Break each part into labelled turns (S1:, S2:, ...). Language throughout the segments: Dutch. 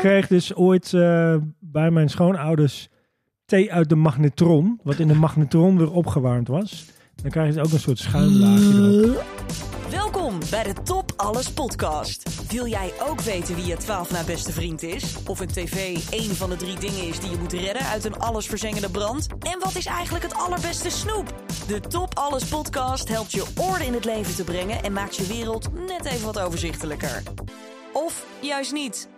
S1: kreeg dus ooit eh, bij mijn schoonouders thee uit de magnetron. Wat in de magnetron weer opgewarmd was. Dan krijg je dus ook een soort schuimlaagje erop.
S2: Welkom bij de Top Alles podcast. Wil jij ook weten wie je 12 na beste vriend is? Of een tv één van de drie dingen is die je moet redden uit een allesverzengende brand? En wat is eigenlijk het allerbeste snoep? De Top Alles podcast helpt je orde in het leven te brengen en maakt je wereld net even wat overzichtelijker. Of juist niet.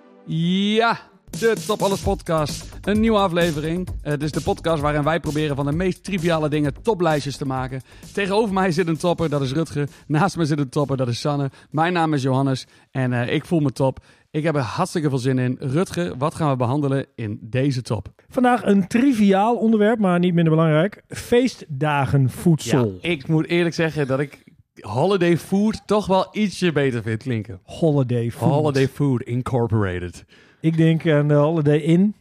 S3: Ja, de Top Alles Podcast. Een nieuwe aflevering. Eh, Het is de podcast waarin wij proberen van de meest triviale dingen toplijstjes te maken. Tegenover mij zit een topper, dat is Rutger. Naast me zit een topper, dat is Sanne. Mijn naam is Johannes en eh, ik voel me top. Ik heb er hartstikke veel zin in. Rutger, wat gaan we behandelen in deze top?
S1: Vandaag een triviaal onderwerp, maar niet minder belangrijk. Feestdagenvoedsel.
S3: ik moet eerlijk zeggen dat ik holiday food toch wel ietsje beter vind klinken.
S1: Holiday food.
S3: Holiday Food Incorporated.
S1: Ik denk aan de Holiday Inn.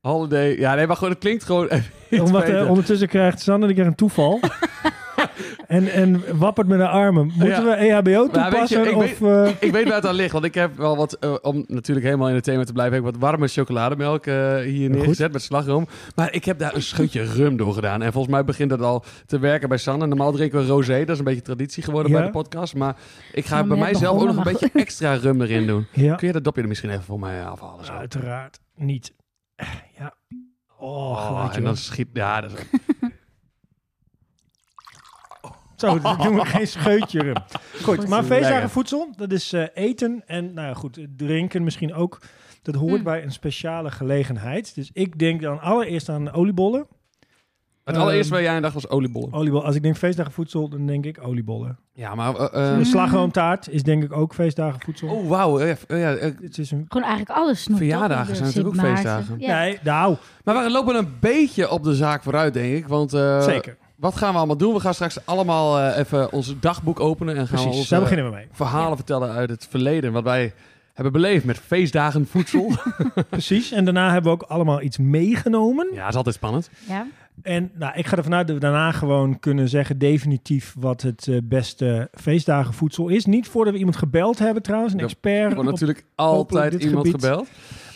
S3: Holiday, ja nee, maar gewoon het klinkt gewoon
S1: Omdat, eh,
S3: beter.
S1: ondertussen krijgt Sanne een keer een toeval. en, en wappert met haar armen. Moeten
S3: Ja.
S1: we E EHBO
S3: Maar weet je,
S1: toepassen? of,
S3: ik
S1: eh,
S3: Ik weet waar het aan ligt, want ik heb wel wat, eh, om natuurlijk helemaal in het thema te blijven, heb ik wat warme chocolademelk eh, hier neergezet met slagroom. Maar ik heb daar een scheutje rum door gedaan. En volgens mij begint dat al te werken bij Sanne. Normaal drinken we rosé, dat is een beetje traditie geworden
S1: Ja.
S3: bij de podcast. Maar ik ga
S4: Ja,
S3: bij
S4: maar net
S3: mijzelf ook nog een
S4: begonnen,
S3: beetje extra rum erin doen.
S1: ja.
S3: Kun je dat dopje er misschien even voor mij afhalen? Zo?
S1: Uiteraard niet. Ja. Oh,
S3: Oh,
S1: geluidje.
S3: en dan schiet... Ja, dat is-
S1: Zo, dan doen we geen scheutje rum. Goed, maar
S3: Lekker.
S1: feestdagenvoedsel, dat is eh, eten en nou ja, goed, drinken misschien ook. Dat hoort
S3: Hm.
S4: Mm.
S1: bij een speciale gelegenheid. Dus ik denk dan allereerst aan oliebollen.
S3: Het
S1: Ehm.
S3: allereerste waar jij aan dacht was oliebollen.
S1: Oliebollen. Als ik denk feestdagenvoedsel, dan denk ik oliebollen.
S3: Ja, maar... eh, eh,
S1: Een slagroomtaart is denk ik ook feestdagenvoedsel.
S3: oh, wauw. eh, eh, ja, eh,
S1: Het is een...
S4: Gewoon eigenlijk alles snoep. toch?
S3: Verjaardagen
S4: De
S3: zijn natuurlijk ook
S4: Sint
S3: feestdagen.
S4: Ja.
S1: Nee, nou,
S3: maar we lopen een beetje op de zaak vooruit, denk ik. Want eh,
S1: zeker.
S3: Wat gaan we allemaal doen? We gaan straks allemaal eh, even ons dagboek openen en gaan we
S1: Precies,
S3: onze
S1: daar beginnen we mee.
S3: verhalen vertellen uit het verleden. Wat wij hebben beleefd met feestdagen, voedsel.
S1: Precies, en daarna hebben we ook allemaal iets meegenomen.
S3: ja, dat is altijd spannend.
S4: Ja.
S1: En nou, ik ga ervan uit dat we daarna gewoon kunnen zeggen definitief wat het eh, beste feestdagenvoedsel is. Niet voordat we iemand gebeld hebben trouwens, een
S3: Ja,
S1: expert.
S3: Er wordt
S1: op-
S3: natuurlijk altijd
S1: dit
S3: iemand
S1: gebied.
S3: gebeld.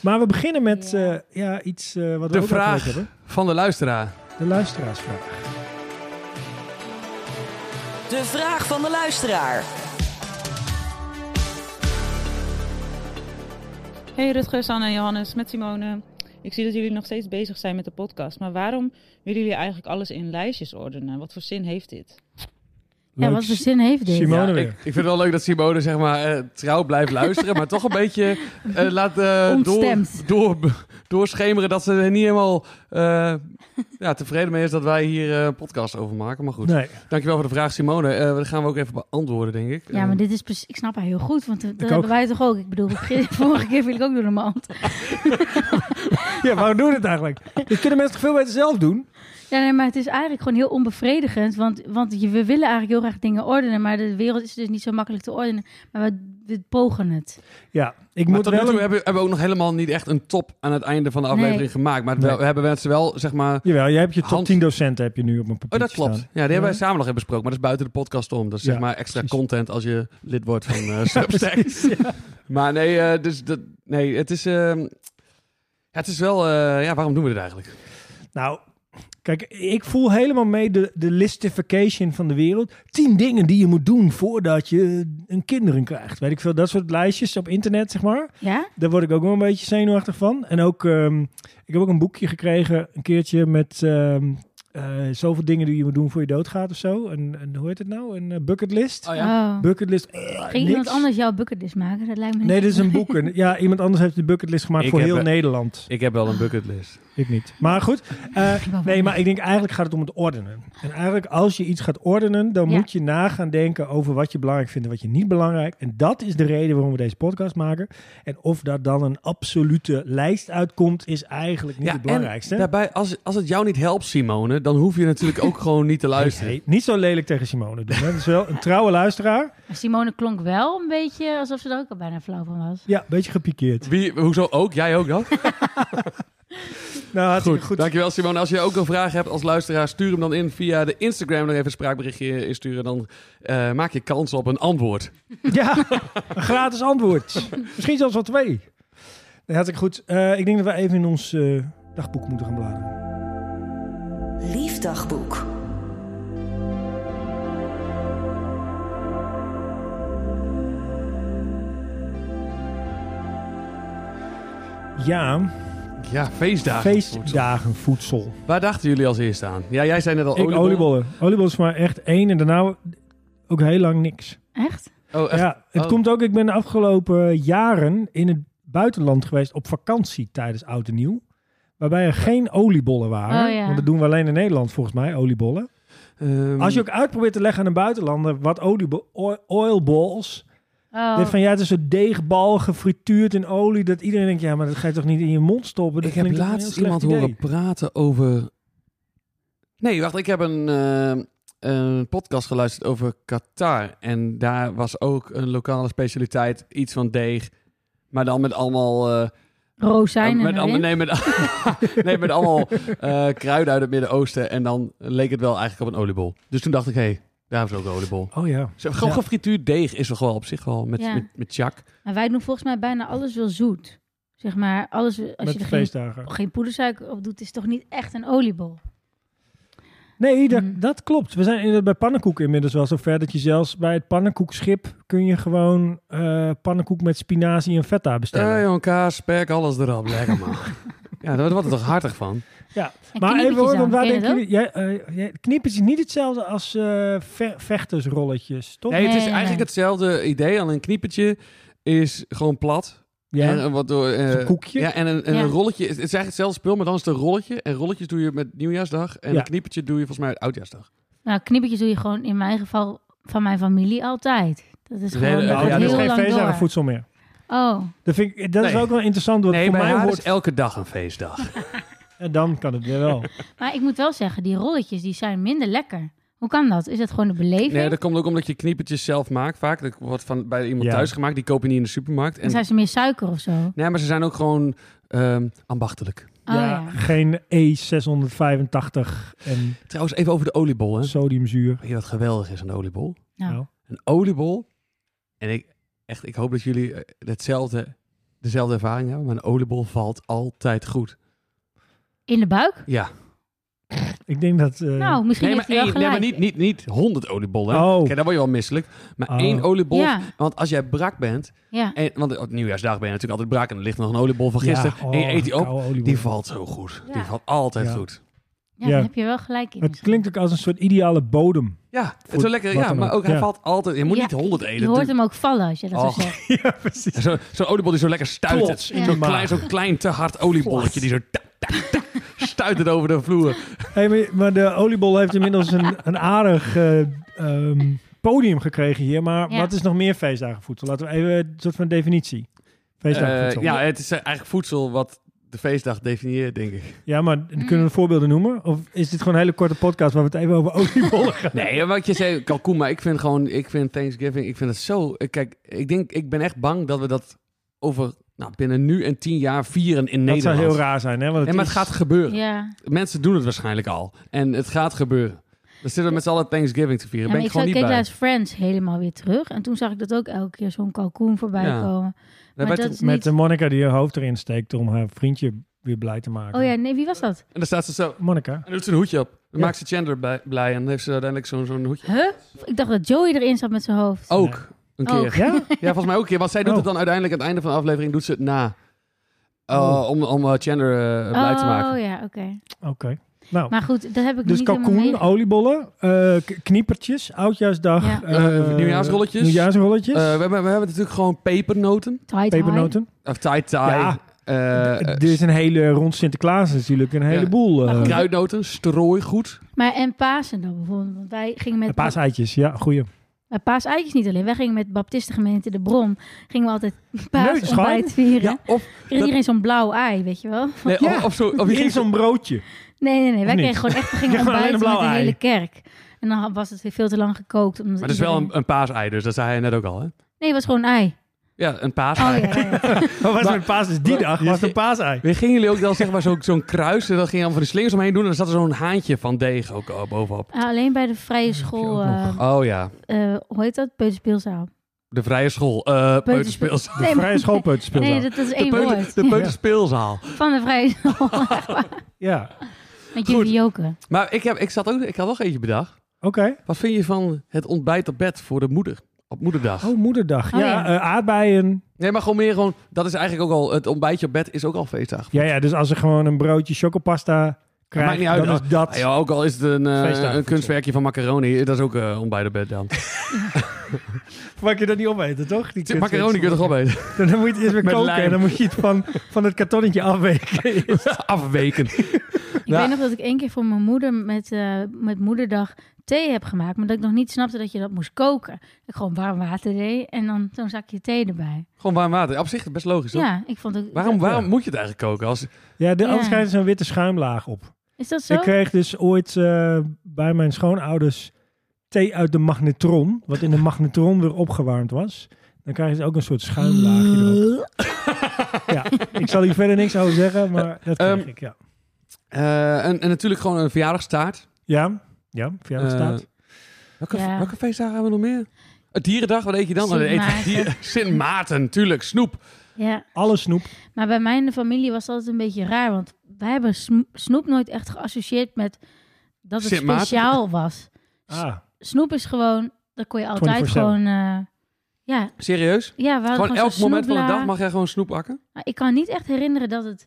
S1: maar we beginnen met
S4: Ja.
S1: eh, ja, iets eh, wat we
S3: De
S1: ook elke
S3: vraag.
S1: week hebben.
S3: Van de luisteraar.
S1: De luisteraarsvraag.
S2: De vraag van de luisteraar.
S5: Hey Rutger, Sanne en Johannes, met Simone. Ik zie dat jullie nog steeds bezig zijn met de podcast, maar waarom willen jullie eigenlijk alles in lijstjes ordenen? Wat voor zin heeft dit?
S4: ja, wat voor zin heeft dit?
S1: Simone
S3: Ja,
S1: weer.
S3: ik, ik vind het wel leuk dat Simone zeg maar, eh, trouw blijft luisteren, maar toch een beetje eh, laat eh, door,
S4: Ontstemd.
S3: door, doorschemeren dat ze er niet helemaal eh, ja, tevreden mee is dat wij hier eh, een podcast over maken. Maar goed,
S1: Nee,
S3: dankjewel voor de vraag Simone. Eh dat gaan we ook even beantwoorden, denk ik. Eh,
S4: Ja, maar dit is precies... Ik snap haar heel goed, want dat
S1: ook.
S4: hebben wij toch ook. Ik bedoel, ik- vorige keer viel ik ook door de mand.
S1: ja, waarom doen we het eigenlijk? Dit kunnen mensen toch veel beter zelf doen?
S4: Ja, nee, maar het is eigenlijk gewoon heel onbevredigend. Want, want je, we willen eigenlijk heel graag dingen ordenen, maar de wereld is dus niet zo makkelijk te ordenen. Maar we, we pogen het.
S1: Ja, ik
S3: Maar
S1: moet
S3: tot nu
S1: wel...
S3: toe
S1: een-
S3: hebben, hebben we ook nog helemaal niet echt een top aan het einde van de aflevering
S4: Nee.
S3: gemaakt. Maar
S1: Nee.
S3: we hebben mensen wel, zeg maar...
S1: Jawel, jij hebt je top
S3: Hand-
S1: 10 docenten heb je nu op mijn
S3: Oh,
S1: papier
S3: dat klopt. Ja, die hebben wij samen nog even besproken. Maar dat is buiten de podcast om. Dat is
S1: Ja,
S3: zeg maar extra
S1: precies.
S3: content als je lid wordt van eh Substack. Maar nee, eh, dus dat, nee het, is, ehm, ja, het is wel... eh, ja, waarom doen we dit eigenlijk?
S1: Nou, kijk, ik voel helemaal mee de, de listification van de wereld. Tien dingen die je moet doen voordat je een kinderen krijgt. Weet ik veel, dat soort lijstjes op internet, zeg maar.
S4: Ja?
S1: Daar word ik ook wel een beetje zenuwachtig van. En ook, ehm, ik heb ook een boekje gekregen, een keertje met ehm, eh, zoveel dingen die je moet doen voor je doodgaat of zo. En, en hoe heet het nou? Een eh, bucketlist?
S4: Oh.
S1: Bucketlist. eh,
S4: Ging iemand
S1: niks.
S4: anders jouw bucketlist maken? Dat lijkt me niet.
S1: Nee, dit is een boek. En Ja, iemand anders heeft de bucketlist gemaakt
S3: Ik
S1: voor
S3: heb
S1: heel
S3: een-
S1: Nederland.
S3: Ik heb wel een bucketlist.
S1: Ik niet. Maar goed. eh,
S4: wel
S1: nee,
S4: wel.
S1: maar ik denk eigenlijk gaat het om het ordenen. En eigenlijk als je iets gaat ordenen, dan
S4: Ja.
S1: moet je nagaan denken over wat je belangrijk vindt en wat je niet belangrijk. En dat is de reden waarom we deze podcast maken. En of daar dan een absolute lijst uitkomt, is eigenlijk niet
S3: Ja,
S1: het
S3: en
S1: belangrijkste.
S3: Daarbij, als, als het jou niet helpt, Simone, dan hoef je natuurlijk ook gewoon niet te
S1: Hey,
S3: luisteren.
S1: hey, niet zo lelijk tegen Simone doen. Hè. Dat is wel een trouwe luisteraar.
S4: Maar Simone klonk wel een beetje alsof ze er ook al bijna flauw van was.
S1: Ja, een beetje gepikeerd.
S3: Wie, hoezo ook? Jij ook dan?
S1: Nou, hartstikke
S3: Goed,
S1: goed.
S3: dankjewel Simone. Als je ook een vraag hebt als luisteraar, stuur hem dan in via de Instagram. Nog even een spraakberichtje insturen, dan eh, maak je kans op een antwoord.
S1: Ja, een gratis antwoord. Misschien zelfs wel twee. Nee, hartstikke goed. Eh, ik denk dat we even in ons eh, dagboek moeten gaan bladeren.
S2: Liefdagboek.
S1: Ja,
S3: Ja, feestdagen.
S1: feestdagen voedsel.
S3: Waar dachten jullie als eerste aan? Ja, jij zei net al
S1: Ik oliebollen. Oliebollen is maar echt één en daarna ook heel lang niks.
S4: Echt?
S3: Oh, echt?
S1: Ja, het
S3: Oh.
S1: komt ook, ik ben de afgelopen jaren in het buitenland geweest op vakantie tijdens Oud en Nieuw. Waarbij er geen oliebollen waren.
S4: Oh ja.
S1: Want dat doen we alleen in Nederland volgens mij, oliebollen.
S3: Ehm,
S1: Als je ook uitprobeert te leggen aan een buitenlander wat oliebo- oil- oilballs...
S4: Oh.
S1: Dit van ja, het is een soort deegbal gefrituurd in olie. Dat iedereen denkt, ja, maar dat ga je toch niet in je mond stoppen? Dat
S3: ik heb
S1: klinkt toch een
S3: laatst
S1: heel
S3: iemand
S1: slecht idee.
S3: horen praten over. Nee, wacht, ik heb een, eh, een podcast geluisterd over Qatar. En daar was ook een lokale specialiteit, iets van deeg. Maar dan met allemaal. eh,
S4: Rozijnen
S3: met allemaal
S4: erin.
S3: nee, met, nee, met allemaal eh, kruiden uit het Midden-Oosten. En dan leek het wel eigenlijk op een oliebol. Dus toen dacht ik, hé, hey, daar hebben ze ook een oliebol.
S1: Oh ja.
S3: Zo, gewoon
S1: Ja.
S3: gefrituurd deeg is toch wel op zich wel met,
S4: Ja.
S3: met, met chak.
S4: Maar wij doen volgens mij bijna alles wel zoet. Zeg maar, alles, als
S1: Met
S4: je
S1: de
S4: er geen,
S1: feestdagen.
S4: geen poedersuiker op doet, is het toch niet echt een oliebol?
S1: Nee, dat,
S4: Mm.
S1: dat klopt. We zijn inderdaad bij pannenkoek inmiddels wel zover dat je zelfs bij het pannenkoekschip kun je gewoon eh, pannenkoek met spinazie en feta bestellen.
S3: Eh, jongen, kaas, spek, alles erop. Lekker man. ja, daar wordt er toch hartig van.
S4: En
S1: maar even
S4: knippertjes
S1: hoor, want
S4: aan,
S1: waar
S4: ken je
S1: denken
S4: dat ook?
S1: jullie... Jij, eh, jij- knippers is niet hetzelfde als eh, ve- vechtersrolletjes, toch?
S3: Nee, het is
S4: Nee.
S3: eigenlijk hetzelfde idee. Al een kniepertje is gewoon plat.
S1: Ja.
S3: En, eh, wat door, eh,
S1: Is een koekje.
S3: Ja, en een, en
S4: Ja.
S3: een rolletje. Het is eigenlijk hetzelfde spul, maar dan is het een rolletje. En rolletjes doe je met nieuwjaarsdag. En
S1: Ja.
S3: een kniepertje doe je volgens mij met oudjaarsdag.
S4: Nou, knippertjes doe je gewoon in mijn geval van mijn familie altijd. Dat is
S3: Dus
S4: gewoon
S3: hele-
S4: dat
S1: Nou,
S3: ja,
S4: gaat
S1: dat is
S4: heel
S1: geen
S4: lang door.
S1: feestdagen voedsel meer.
S4: Oh,
S1: Dat, vind ik, dat is
S3: Nee.
S1: ook wel interessant, want
S3: Nee,
S1: voor mij
S3: maar
S1: hoort...
S3: is elke dag een feestdag.
S1: En dan kan het weer wel.
S4: maar ik moet wel zeggen, die rolletjes die zijn minder lekker. Hoe kan dat? Is dat gewoon de beleving?
S3: nee, dat komt ook omdat je kniepertjes zelf maakt vaak. Dat wordt van, bij iemand
S1: Ja.
S3: thuis gemaakt. Die koop je niet in de supermarkt.
S4: Dan
S3: En,
S4: zijn ze meer suiker of zo. Oh,
S3: Nee, maar ze zijn ook gewoon ehm, ambachtelijk.
S1: ja,
S4: ja.
S1: geen E685 en
S3: Trouwens, even over de oliebol. Hè.
S1: sodiumzuur.
S3: Weet je wat geweldig is aan de oliebol?
S4: Nou.
S1: Nou.
S3: een oliebol. En ik, echt, ik hoop dat jullie eh, hetzelfde, dezelfde ervaring hebben. Maar een oliebol valt altijd goed.
S4: In de buik?
S1: Eh,
S3: Ja.
S1: Ik denk dat... eh,
S4: Nou, misschien
S3: Nee, maar,
S4: heeft hij wel
S3: één- nee,
S4: gelijk.
S3: maar niet, niet, niet 100 oliebollen. hè.
S1: Oh.
S3: Kijk, daar word je wel misselijk. Maar
S1: Oh.
S3: één oliebol.
S4: Ja,
S3: Want als jij brak bent.
S4: ja.
S3: En, want op nieuwjaarsdag ben je natuurlijk altijd brak. En er ligt nog een oliebol van gisteren.
S1: ja,
S3: en je
S1: oh,
S3: eet die op.
S1: koude oliebol.
S3: Die valt zo goed.
S4: Ja.
S3: Die valt altijd
S1: Ja.
S3: goed.
S4: ja,
S1: Ja.
S4: daar heb je wel gelijk in.
S1: Het klinkt ook als een soort ideale bodem.
S3: Ja, het
S1: Voor
S3: is wel lekker.
S1: wat
S3: Ja,
S1: dan
S3: maar
S1: ook.
S3: ook, hij
S1: Ja.
S3: valt altijd. Je moet
S4: Ja,
S3: niet 100 eten.
S4: Je hoort hem ook vallen als je dat
S3: Och.
S4: zo zegt.
S1: Ja, precies.
S3: Zo- Zo'n oliebol die zo lekker stuitert.
S1: Plots in
S4: Ja.
S1: de
S3: Zo'n klein,
S1: maag.
S3: zo'n klein te hard oliebolletje die zo tak, tak, tak, stuitend over de vloer.
S1: Hey, maar- maar de oliebol heeft inmiddels een, een aardig eh, ehm, podium gekregen hier. Maar
S4: Ja.
S1: wat is nog meer feestdagenvoedsel? Laten we even een soort van definitie. Feestdagenvoedsel.
S3: Eh, ja, het is eh, eigenlijk voedsel wat de feestdag definieert, denk ik.
S1: ja, maar
S4: Mm.
S1: kunnen we voorbeelden noemen? Of is dit gewoon een hele korte podcast waar we het even over oliebollen gaan?
S3: Nee, wat je zei, kalkoen, maar ik vind gewoon, ik vind Thanksgiving, ik vind het zo... eh, Kijk, ik denk, ik ben echt bang dat we dat over, nou, binnen nu en tien jaar vieren in
S1: Dat zou
S3: Nederland.
S1: heel raar zijn, hè? Want het
S3: Nee, maar het
S1: is-
S3: gaat gebeuren.
S4: Ja.
S3: Mensen doen het waarschijnlijk al. En het gaat gebeuren. Dan zitten we met z'n allen Thanksgiving te vieren.
S4: Ja,
S3: ben
S4: maar
S3: ik,
S4: ik
S3: gewoon niet
S4: zag, keek
S3: bij.
S4: laatst Friends helemaal weer terug. En toen zag ik dat ook elke keer zo'n kalkoen voorbij
S3: Ja.
S4: komen.
S3: Daar
S4: maar
S3: ben ik-
S4: dat is
S1: Met
S4: niet-
S1: de Monica die haar hoofd erin steekt om haar vriendje weer blij te maken.
S4: Oh ja, nee, wie was dat?
S3: En dan staat ze zo...
S1: Monica.
S3: En doet ze een hoedje op. Dan
S1: Ja.
S3: maakt ze Chandler bij- blij en heeft ze uiteindelijk zo'n zo'n hoedje.
S4: Huh? Ik dacht dat Joey erin zat met zijn hoofd.
S3: Ook een keer.
S4: Ook.
S1: Ja?
S3: Ja, volgens mij ook een keer. Want zij doet
S1: Oh.
S3: het dan uiteindelijk aan het einde van de aflevering doet ze het na. Uh,
S1: Oh.
S3: Om, om eh, Chandler eh, blij te maken.
S4: Oh ja, oké.
S1: Oké. Nou.
S4: Maar goed, dat heb ik
S1: Dus
S4: niet
S1: kalkoen,
S4: helemaal mee.
S1: oliebollen, eh, k- kniepertjes, oudjaarsdag.
S4: Ja.
S1: eh,
S3: Eh, nieuwjaarsrolletjes.
S1: Nieuwjaarsrolletjes.
S3: Eh, we, hebben, we hebben natuurlijk gewoon pepernoten.
S4: Tie-tie.
S1: pepernoten.
S3: Of tie-tie.
S1: Ja.
S3: eh, eh,
S1: Er is een hele rond Sinterklaas natuurlijk, een heleboel. eh,
S3: kruidnoten, strooigoed.
S4: Maar en Pasen dan bijvoorbeeld. Want wij gingen met...
S1: en paaseitjes, ja, goeie.
S4: Maar paaseitjes niet alleen. Wij gingen met baptistengemeente De Bron. Gingen we altijd paasontbijt vieren.
S3: Ja, of,
S4: Kreeg iedereen zo'n blauw ei, weet je wel?
S3: nee,
S1: Ja.
S3: of, of zo, of je
S1: Hier
S3: ging
S1: is zo'n broodje.
S4: Nee, nee, nee. Wij
S1: niet?
S4: kregen gewoon echt... We gingen
S1: Ja, gewoon alleen
S4: ontbijten
S1: een
S4: met
S1: blauw
S4: de
S1: ei.
S4: hele kerk. En dan was het weer veel te lang gekookt. Omdat
S3: Maar het is wel
S4: iedereen-
S3: een, een paasei, dus dat zei hij net ook al. Hè?
S4: Nee, het was gewoon een ei.
S3: Ja, een paasei.
S4: Oh ja, ja, ja.
S1: Maar was
S3: Maar-
S1: mijn paas dus die
S3: maar-
S1: dag, was een paasei.
S3: We gingen jullie ook dan zeg maar zo- zo'n kruis en dan ging je dan van die slingers omheen doen en dan zat er zo'n haantje van deeg ook eh, bovenop.
S4: Ah, Alleen bij de vrije school...
S1: ook nog.
S4: eh,
S3: Oh ja.
S4: eh, hoe heet dat? Peuterspeelzaal.
S3: De vrije school. eh peuterspeels.
S4: Peuterspeels.
S1: De
S4: Nee, maar-
S1: vrije schoolpeuterspeelzaal.
S4: Nee, dat, dat is
S3: De,
S4: één
S3: peuter,
S4: woord.
S3: de peuterspeelzaal.
S4: Van de vrije school.
S1: Ja,
S3: Goed.
S4: Met jullie joken.
S3: Maar ik, heb, ik, zat ook, ik had nog eentje bedacht.
S1: oké.
S3: Wat vind je van het ontbijt op bed voor de moeder? Op moederdag.
S1: Oh, moederdag.
S4: Oh,
S1: ja,
S4: ja.
S1: eh, aardbeien.
S3: Nee, maar gewoon meer gewoon... Dat is eigenlijk ook al... Het ontbijtje op bed is ook al feestdag.
S1: Ja, ja, dus als ze gewoon een broodje chocopasta
S3: maakt
S1: krijgt,
S3: niet uit.
S1: dan is dat...
S3: Ah, ja, ook al is het een, eh,
S1: Feestdag,
S3: een kunstwerkje van macaroni. Dat is ook eh, ontbijt op bed dan.
S1: Mag je dat niet opeten, toch? Die kut-
S3: macaroni kun je toch opeten?
S1: Dan moet je het eerst weer
S3: Met
S1: koken
S3: lijm.
S1: en dan moet je het van, van het kartonnetje afweken.
S3: Afweken.
S4: Ik
S3: Ja.
S4: weet nog dat ik één keer voor mijn moeder met, eh, met moederdag thee heb gemaakt. Maar dat ik nog niet snapte dat je dat moest koken. Ik gewoon warm water deed en dan zo'n zakje thee erbij.
S3: Gewoon warm water. Op zich is het best logisch, toch?
S4: Ja, ik vond het...
S3: Waarom,
S4: dat-
S3: waarom moet je het eigenlijk koken? Als,
S1: Ja, de,
S4: Ja.
S1: anders krijg je zo'n witte schuimlaag op.
S4: Is dat zo?
S1: Ik kreeg dus ooit eh, bij mijn schoonouders thee uit de magnetron. Wat in de magnetron weer opgewarmd was. Dan krijg je dus ook een soort schuimlaagje erop. Ja, ik zal hier verder niks over zeggen, maar dat kreeg
S3: Ehm,
S1: ik, ja.
S3: Eh, en, en natuurlijk gewoon een verjaardagstaart.
S1: Ja, ja, verjaardagstaart.
S3: Welke,
S4: Ja.
S3: welke feestdagen hebben we nog meer? Het dierendag, wat eet je dan?
S4: Sint
S3: Oh, dan eet je
S4: Maarten.
S3: dier- Sint Maarten, tuurlijk. Snoep.
S4: Ja,
S1: Alle snoep.
S4: maar bij mijn familie was dat altijd een beetje raar. Want wij hebben sno- snoep nooit echt geassocieerd met dat het
S3: Sint Maarten.
S4: speciaal was.
S1: Ah,
S4: Snoep is gewoon... Dat kon je altijd
S1: 24/7.
S4: gewoon... eh, ja,
S3: Serieus?
S4: ja, we hadden
S3: Gewoon
S4: gewoon
S3: elk
S4: zo'n
S3: moment van de
S4: snoepla.
S3: dag mag jij gewoon snoep hakken?
S4: Maar ik kan niet echt herinneren dat het,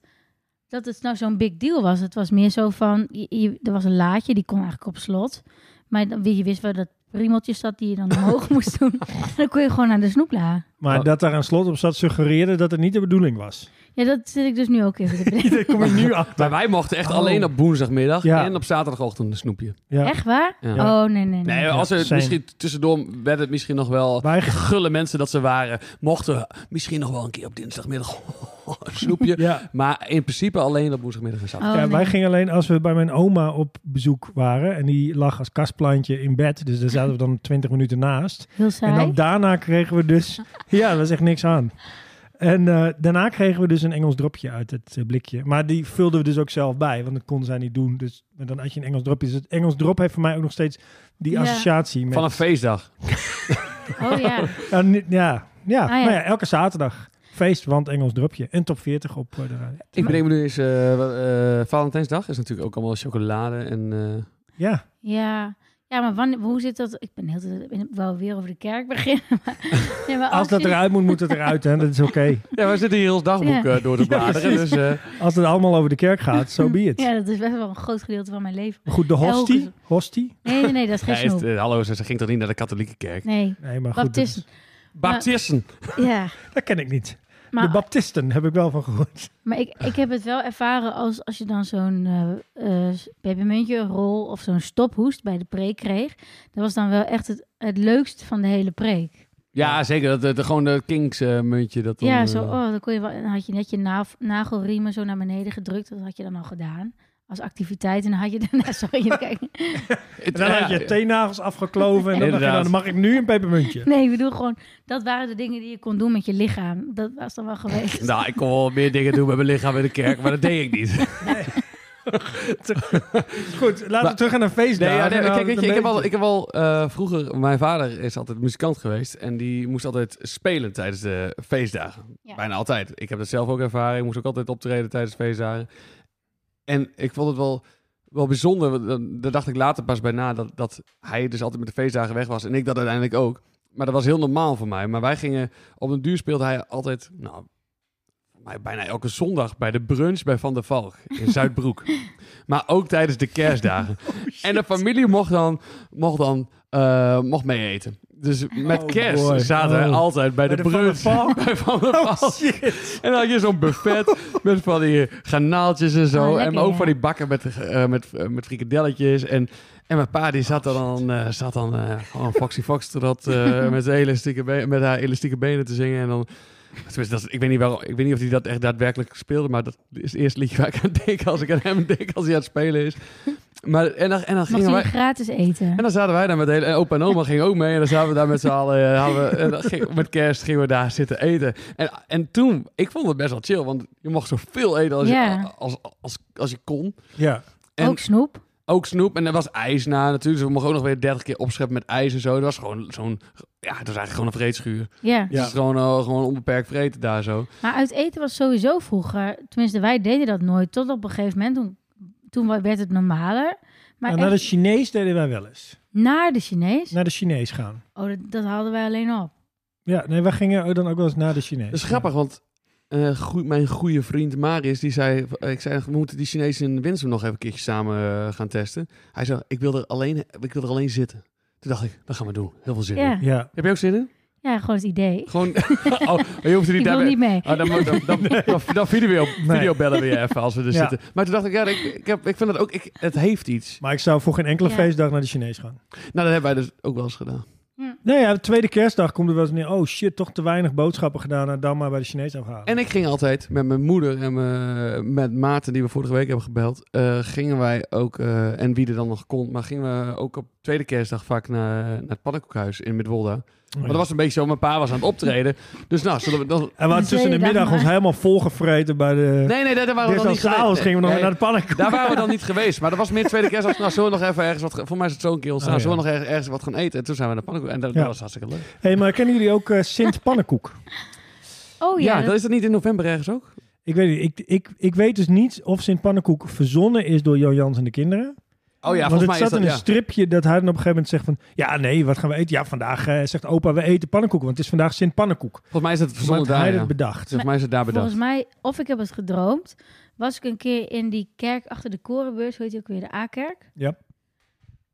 S4: dat het nou zo'n big deal was. Het was meer zo van, je, je- er was een laadje, die kon eigenlijk op slot. Maar dan, je wist wel dat priemeltje zat die je dan omhoog moest doen. En dan kon je gewoon naar de snoepla.
S1: maar
S3: Oh.
S1: dat daar een slot op zat suggereerde dat het niet de bedoeling was.
S4: Ja, dat zit ik dus nu ook even te bedenken.
S1: Daar kom je nu achter.
S3: Maar wij mochten echt
S1: Oh.
S3: alleen op woensdagmiddag
S1: Ja.
S3: en op zaterdagochtend een snoepje.
S1: Ja.
S4: Echt waar?
S3: Ja.
S4: Oh, nee, nee, nee.
S3: Nee, als er
S1: same.
S3: misschien tussendoor werd het misschien nog wel
S1: Wij,
S3: gulle mensen dat ze waren. Mochten misschien nog wel een keer op dinsdagmiddag een snoepje.
S1: ja.
S3: Maar in principe alleen op woensdagmiddag en zaterdag.
S4: Oh,
S1: ja, wij
S4: nee.
S1: gingen alleen als we bij mijn oma op bezoek waren. En die lag als kastplantje in bed. Dus daar zaten we dan 20 minuten naast.
S4: Heel
S1: En
S4: saai.
S1: dan daarna kregen we dus... Ja, daar was echt niks aan. En eh, daarna kregen we dus een Engels dropje uit het eh, blikje. Maar die vulden we dus ook zelf bij, want dat kon zij niet doen. Dus maar dan had je een Engels dropje. Dus het Engels drop heeft voor mij ook nog steeds die
S4: Ja.
S1: associatie. Met,
S3: Van een feestdag.
S4: Oh ja.
S1: Ja, ni- ja, ja.
S4: Ah, ja.
S1: Nou ja, elke zaterdag. Feest, want Engels dropje. En top 40 op eh, de radio.
S3: Ik bedenk me nu eens, eh, wat, eh, Valentijnsdag is natuurlijk ook allemaal chocolade en... eh,
S1: Ja,
S4: Ja. Ja, maar wanneer, hoe zit dat? Ik ben heel de ik wou weer over de kerk beginnen. Maar, ja, maar
S1: als dat
S4: je-
S1: eruit moet, moet het eruit. Hè. Dat is oké.
S3: Ja, wij zitten hier ons dagboek
S4: Ja.
S3: eh, door te bladeren. dus, eh,
S1: Als het allemaal over de kerk gaat, zo be it.
S4: Ja, dat is best wel een groot gedeelte van mijn leven.
S1: Goed, de hostie.
S4: Elke-
S1: Hostie?
S4: Nee, nee, nee, dat is geen
S3: hij is-
S4: snoep.
S3: eh, hallo, ze ze ging toch niet naar de katholieke kerk?
S4: Nee,
S1: Nee, maar goed. Dat,
S4: baptisten.
S3: Baptisten.
S4: Ja.
S1: is- dat ken ik niet.
S4: Maar,
S1: De baptisten heb ik wel van gehoord.
S4: maar ik, ik heb het wel ervaren als, als je dan zo'n eh eh, pepermuntje, rol of zo'n stophoest bij de preek kreeg. Dat was dan wel echt het, het leukst van de hele preek.
S3: Ja, zeker. Dat, dat, gewoon de Kings eh, muntje. Dat dan,
S4: ja,
S3: eh,
S4: zo, oh, dan, kon je wel, dan had je net je naaf- nagelriemen zo naar beneden gedrukt. Dat had je dan al gedaan. Als activiteit. En dan had je daarna, sorry, dan kijk-
S3: het- eh,
S1: En dan
S3: ja,
S1: had je teennagels afgekloven. En dan dacht je,
S3: Inderdaad.
S1: dan mag ik nu een pepermuntje.
S4: Nee, ik bedoel gewoon, dat waren de dingen die je kon doen met je lichaam. Dat was dan wel geweest.
S3: Nou, ik kon wel meer dingen doen met mijn lichaam in de kerk, maar dat deed ik niet.
S1: Goed, laten we
S3: Maar-
S1: terug gaan naar feestdagen.
S3: Nee, ja, nee,
S1: Nou,
S3: kijk, weet je, ik heb
S1: een
S3: al,
S1: beetje-
S3: ik heb al eh, vroeger, mijn vader is altijd muzikant geweest en die moest altijd spelen tijdens de feestdagen.
S4: Ja.
S3: Bijna altijd. Ik heb dat zelf ook ervaren. Ik moest ook altijd optreden tijdens feestdagen. En ik vond het wel, wel bijzonder. want dan- Daar dacht ik later pas bij na dat, dat hij dus altijd met de feestdagen weg was. En ik dat uiteindelijk ook. Maar dat was heel normaal voor mij. Maar wij gingen, op een duur speelde hij altijd, nou, voor mij bijna elke zondag bij de brunch bij Van der Valk in Zuidbroek. maar ook tijdens de kerstdagen.
S1: Oh,
S3: en de familie mocht dan, mocht dan eh, mocht mee eten. Dus met
S1: Oh
S3: kerst
S1: boy.
S3: zaten wij
S1: Oh.
S3: altijd bij,
S1: Bij
S3: de,
S1: de Van der
S3: brunch
S1: Valk? Oh,
S3: bij Van der Valk.
S1: Shit.
S3: En dan had je zo'n buffet met van die eh, garnaaltjes en zo.
S4: Ah, lekker,
S3: en ook
S4: ja.
S3: van die bakken met, eh, met, eh, met frikadelletjes. En, en mijn pa die zat dan, eh, zat dan eh, gewoon Foxy Foxtrot eh met, zijn elastieke be- met haar elastieke benen te zingen. En dan, tenminste, dat, is- ik, weet niet waarom, ik weet niet of hij dat echt daadwerkelijk speelde. Maar dat is het eerste liedje waar ik aan denk als ik aan hem denk als hij aan het spelen is. Maar, en dan, en dan
S4: Mocht
S3: gingen
S4: je
S3: wij...
S4: gratis eten.
S3: En dan zaten wij daar met de hele... En opa en oma gingen ook mee. En dan zaten we daar met z'n allen... eh, hadden we- en dan ging- met kerst gingen we daar zitten eten. En, en toen... Ik vond het best wel chill. Want je mocht zoveel eten als,
S4: Ja.
S3: je, als, als, als je kon.
S1: Ja,
S3: En,
S4: Ook snoep.
S3: Ook snoep. En er was ijs na natuurlijk. Dus we mochten ook nog weer 30 keer opscheppen met ijs en zo. Dat was gewoon zo'n... Ja, dat is eigenlijk gewoon een vreedschuur.
S4: Ja.
S1: Ja.
S3: Het is gewoon, eh, gewoon onbeperkt vreten daar zo.
S4: Maar uit eten was sowieso vroeger, tenminste wij deden dat nooit, tot op een gegeven moment, toen, toen werd het normaler. Maar
S1: Nou, naar de
S4: echt
S1: Chinees deden wij wel eens.
S4: naar de Chinees,
S1: Naar de Chinees gaan.
S4: oh, dat, dat haalden wij alleen op.
S1: Ja, nee, wij gingen ook dan ook wel eens naar de Chinees.
S3: Dat is grappig, want eh, goe- mijn goede vriend Marius, die zei... eh, Ik zei, we moeten die Chinezen in Winsum nog even een keertje samen eh, gaan testen. Hij zei, ik wil, er alleen, ik wil er alleen zitten. Toen dacht ik, dat gaan we doen. Heel veel zin in.
S4: Ja,
S1: Ja.
S3: Heb je ook zin in?
S4: ja gewoon het idee.
S3: Gewoon... oh, maar je hoeft er
S4: Ik
S3: niet
S4: wil
S3: daarbij-
S4: niet mee.
S3: Oh, dan, moet- dan, dan, dan, dan video,
S1: Nee.
S3: videobellen we je even als we
S1: Ja.
S3: er zitten. Maar toen dacht ik, ja, ik, ik, heb, ik vind dat ook... Ik, het heeft iets.
S1: Maar ik zou voor geen enkele
S4: Ja.
S1: feestdag naar de Chinees gaan.
S3: Nou, dat hebben wij dus ook wel eens gedaan.
S1: Nee, ja, de tweede kerstdag komt er wel eens neer. Oh shit, toch te weinig boodschappen gedaan. Nou, dan maar bij de Chinees afhalen.
S3: En ik ging altijd met mijn moeder en mijn- met Maarten, die we vorige week hebben gebeld, eh, gingen wij ook, eh, en wie er dan nog kon, maar gingen we ook op tweede kerstdag vaak naar, naar het pannenkoekhuis in
S1: Oh
S3: Midwolda. Maar dat was een beetje zo, mijn pa was aan het optreden. Dus nou, zullen we dan...
S1: En we hadden
S4: De
S1: tussen de
S4: tweede dag
S1: middag ons
S4: maar.
S1: helemaal volgevreten bij de...
S3: Nee, nee, daar daar waren we
S1: Dit
S3: dan niet
S1: als s'avonds
S3: geweest.
S1: gingen we nog
S3: Nee,
S1: naar de pannenkoek.
S3: Daar waren we dan niet geweest, maar dat was meer tweede kerstdag. Nou, zullen we nog even ergens wat... ge- Voor mij is het zo'n keer ontstaan.
S1: Oh, ja.
S3: Zullen we nog ergens, ergens wat gaan eten? En toen zijn we naar de pannenkoek. En dat, dat
S1: Ja.
S3: was hartstikke leuk.
S1: hey, maar kennen jullie ook eh, Sint Pannenkoek?
S4: Oh ja,
S3: ja,
S4: dat-
S3: dat is dat niet in november ergens ook? Oh
S1: Ik weet, niet, ik, ik, ik weet dus niet of Sint Pannenkoek verzonnen is door Jo Jans en de kinderen.
S3: Oh ja,
S1: Want
S3: volgens
S1: het
S3: mij
S1: zat
S3: is dat...
S1: in een
S3: ja.
S1: stripje dat hij dan op een gegeven moment zegt van... Ja, nee, wat gaan we eten? Ja, vandaag eh, zegt opa, we eten pannenkoek. Want het is vandaag Sint Pannenkoek.
S3: Volgens mij is het
S1: Maar
S3: verzonnen
S1: hij
S3: daar,
S1: had
S3: ja.
S1: het bedacht.
S3: Volgens mij is het daar bedacht.
S4: volgens mij, of ik heb het gedroomd, was ik een keer in die kerk achter de Korenbeurs, hoe heet die ook weer, de A-kerk.
S1: Ja.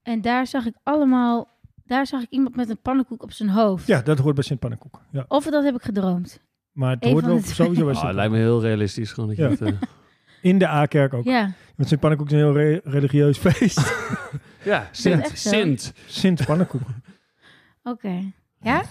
S4: En daar zag ik allemaal, daar zag ik iemand met een pannenkoek op zijn hoofd.
S1: Ja, dat hoort bij Sint Pannenkoek. Ja.
S4: Of dat heb ik gedroomd.
S1: Maar het
S4: Eén
S1: hoort
S4: van
S1: wel
S4: de twee.
S1: sowieso bij
S3: Ah,
S1: Sint
S3: het lijkt me heel realistisch gewoon. Dat je
S1: Ja.
S3: dat, eh,
S1: In de A-kerk ook.
S4: Ja,
S1: Want Sint Pannenkoek is een heel re- religieus feest.
S3: ja,
S4: Sint.
S3: Sint.
S4: echt zo?
S3: Sint.
S1: Sint Pannenkoek.
S4: oké. Ja?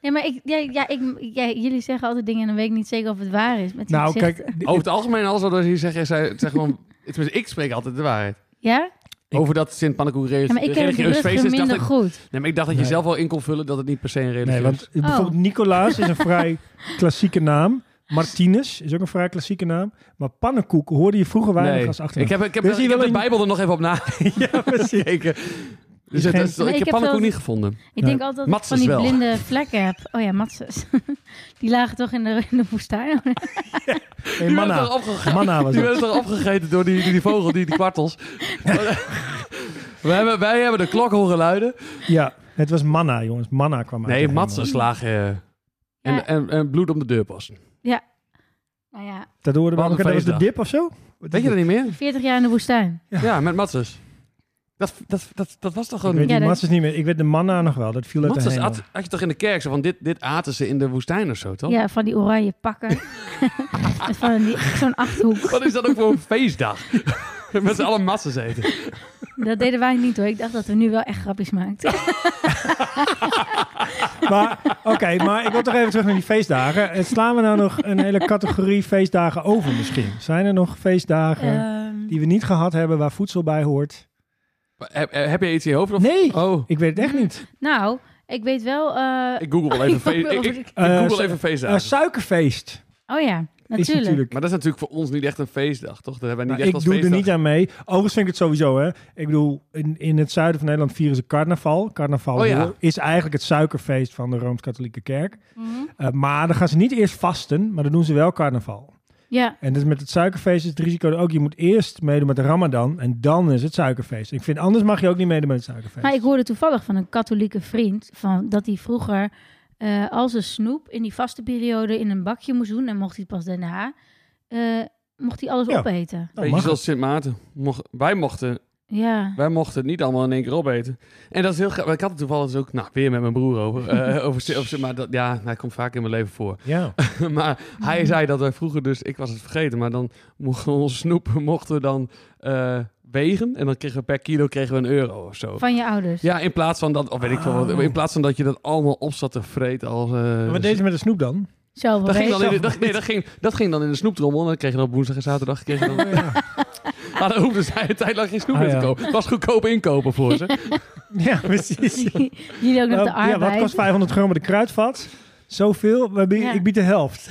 S4: Nee, maar ik, ja, ja, ik, ja, jullie zeggen altijd dingen en dan weet ik niet zeker of het waar is. Met die
S1: nou,
S4: gezichten.
S1: kijk.
S3: Over het algemeen, alles wat we hier zeggen, zij, het zijn gewoon... Tenminste, ik spreek altijd de waarheid.
S4: Ja?
S1: Ik-
S3: Over dat Sint Pannenkoek
S4: ja? Maar ik ken
S3: religieus
S4: het
S3: feest
S4: Rutger
S3: is. Dacht
S4: minder
S3: ik,
S4: goed.
S3: nee, maar ik dacht dat je
S1: Nee.
S3: zelf wel in kon vullen dat het niet per se een religieus...
S1: Nee, want eh,
S4: Oh.
S1: bijvoorbeeld Nicolaas is een vrij klassieke naam. Martinus is ook een vrij klassieke naam. Maar pannenkoek hoorde je vroeger weinig
S3: Nee.
S1: als achternaam.
S3: Ik heb, ik heb,
S1: Dus
S3: ik
S1: hier
S3: heb
S1: wil
S3: de
S1: je-
S3: Bijbel er nog even op
S1: ja, precies.
S3: nagekeken. Dus het-
S1: geen-
S3: het-
S4: Nee,
S3: ik
S4: ik
S3: heb
S4: heb
S3: Pannenkoek
S4: wel-
S3: niet gevonden.
S4: Ik
S1: Nee.
S4: denk altijd dat ik
S3: Matzes
S4: van die
S3: wel.
S4: blinde vlekken heb. Oh ja, matzes. die lagen toch in de, in de woestijn?
S1: Hey,
S3: Die werd
S1: manna.
S3: toch opgege-
S1: Manna was
S3: die
S1: dat.
S3: werden toch opgegeten door die, die, die vogel, die, die kwartels. We hebben, wij hebben de klok horen luiden.
S1: Ja, het was manna, jongens. Manna kwam uit. de
S3: Nee,
S1: hemel.
S3: matsen slagen. eh, en,
S4: Ja.
S3: en, en bloed om de deurpas.
S4: nou ja,
S1: Dat hoorde we
S3: Wat een
S1: ook. Dat was de
S3: feestdag.
S1: dip of zo? Wat
S3: Weet
S1: is
S3: je dat
S1: dit?
S3: niet meer?
S4: 40 jaar in de woestijn.
S3: Ja, met Matses. Dat, dat, dat, dat was toch
S1: Ik weet
S3: gewoon...
S4: Ja,
S1: die
S4: dat-
S1: matzes niet meer. Ik weet de manna nog wel. Dat viel uit de
S3: Matses
S1: hemel.
S3: had, had je toch in de kerk zo van dit, dit aten ze in de woestijn of zo, toch?
S4: Ja, van die oranje pakken. En van die- zo'n achthoek.
S3: Wat is dat ook voor een feestdag? Met z'n allen Matses eten.
S4: Dat deden wij niet hoor. Ik dacht dat we nu wel echt grapjes maakten.
S1: Maar oké, maar ik wil toch even terug naar die feestdagen. Eh, Slaan we nou nog een hele categorie feestdagen over misschien? Zijn er nog feestdagen
S4: Ehm,
S1: die we niet gehad hebben waar voedsel bij hoort?
S3: Heb, eh, heb je iets in je hoofd? Of?
S1: Nee,
S3: Oh,
S1: ik weet het echt niet.
S4: nou, ik weet wel. eh,
S3: ik google wel even,
S4: Oh, ik
S3: feest, ik, ik, ik
S1: Eh,
S3: google
S1: zo-
S3: even
S1: Eh,
S3: feestdagen.
S1: suikerfeest
S4: oh ja,
S1: is
S4: natuurlijk.
S1: natuurlijk.
S3: maar dat is natuurlijk voor ons niet echt een feestdag, toch? Dat hebben wij
S1: Maar
S3: niet echt
S1: Nou, ik
S3: als
S1: doe er
S3: feestdag.
S1: niet aan mee. Overigens vind ik het sowieso, hè. Ik bedoel, in, in het zuiden van Nederland vieren ze carnaval. Carnaval
S3: Oh ja.
S1: is eigenlijk het suikerfeest van de Rooms-Katholieke Kerk.
S4: Mhm.
S1: Eh, maar dan gaan ze niet eerst vasten, maar dan doen ze wel carnaval.
S4: Ja,
S1: En dus met het suikerfeest is het risico er ook. Je moet eerst meedoen met de Ramadan en dan is het suikerfeest. Ik vind anders mag je ook niet meedoen met het suikerfeest.
S4: maar ik hoorde toevallig van een katholieke vriend van, dat hij vroeger eh, als een snoep in die vaste periode in een bakje moest doen. En mocht hij pas daarna, eh, mocht hij alles
S1: Ja.
S4: opeten.
S1: Nou,
S3: Beetje
S1: mag
S3: zoals Sint Maarten. Mocht- wij, mochten,
S4: Ja.
S3: wij mochten het niet allemaal in één keer opeten. En dat is heel grappig. Ik had het toevallig dus ook nou, weer met mijn broer over. eh over, Sint- over Sint Maarten. Dat- Ja, hij komt vaak in mijn leven voor.
S1: het. Ja.
S3: maar hij zei dat wij vroeger dus, ik was het vergeten, maar dan mochten we onze snoep mochten we dan eh, wegen en dan kregen we per kilo kregen we een euro of zo.
S4: Van je ouders.
S3: Ja, in plaats van dat, of weet ik veel, wat,
S1: Oh.
S3: in plaats van dat je dat allemaal op zat te vreten als. eh,
S1: Wat deed ze met de snoep dan?
S4: Zo, wel
S3: dat ging,
S4: weet-
S3: dan in de, dat, nee, dat, ging, dat ging dan in de snoeptrommel. En dan kreeg je dan op woensdag en zaterdag. Kreeg je dan, Maar dan hoefde zij een tijd lang geen snoep
S1: Oh, Ah,
S3: meer te
S1: ja.
S3: kopen. Het was goedkoop inkopen voor ze.
S1: Ja, precies.
S4: Jullie ook nog de
S1: ja,
S4: arbeid.
S1: wat kost 500 gram met de kruidvat? Zoveel? We bieden-
S4: Ja.
S1: Ik bied de helft.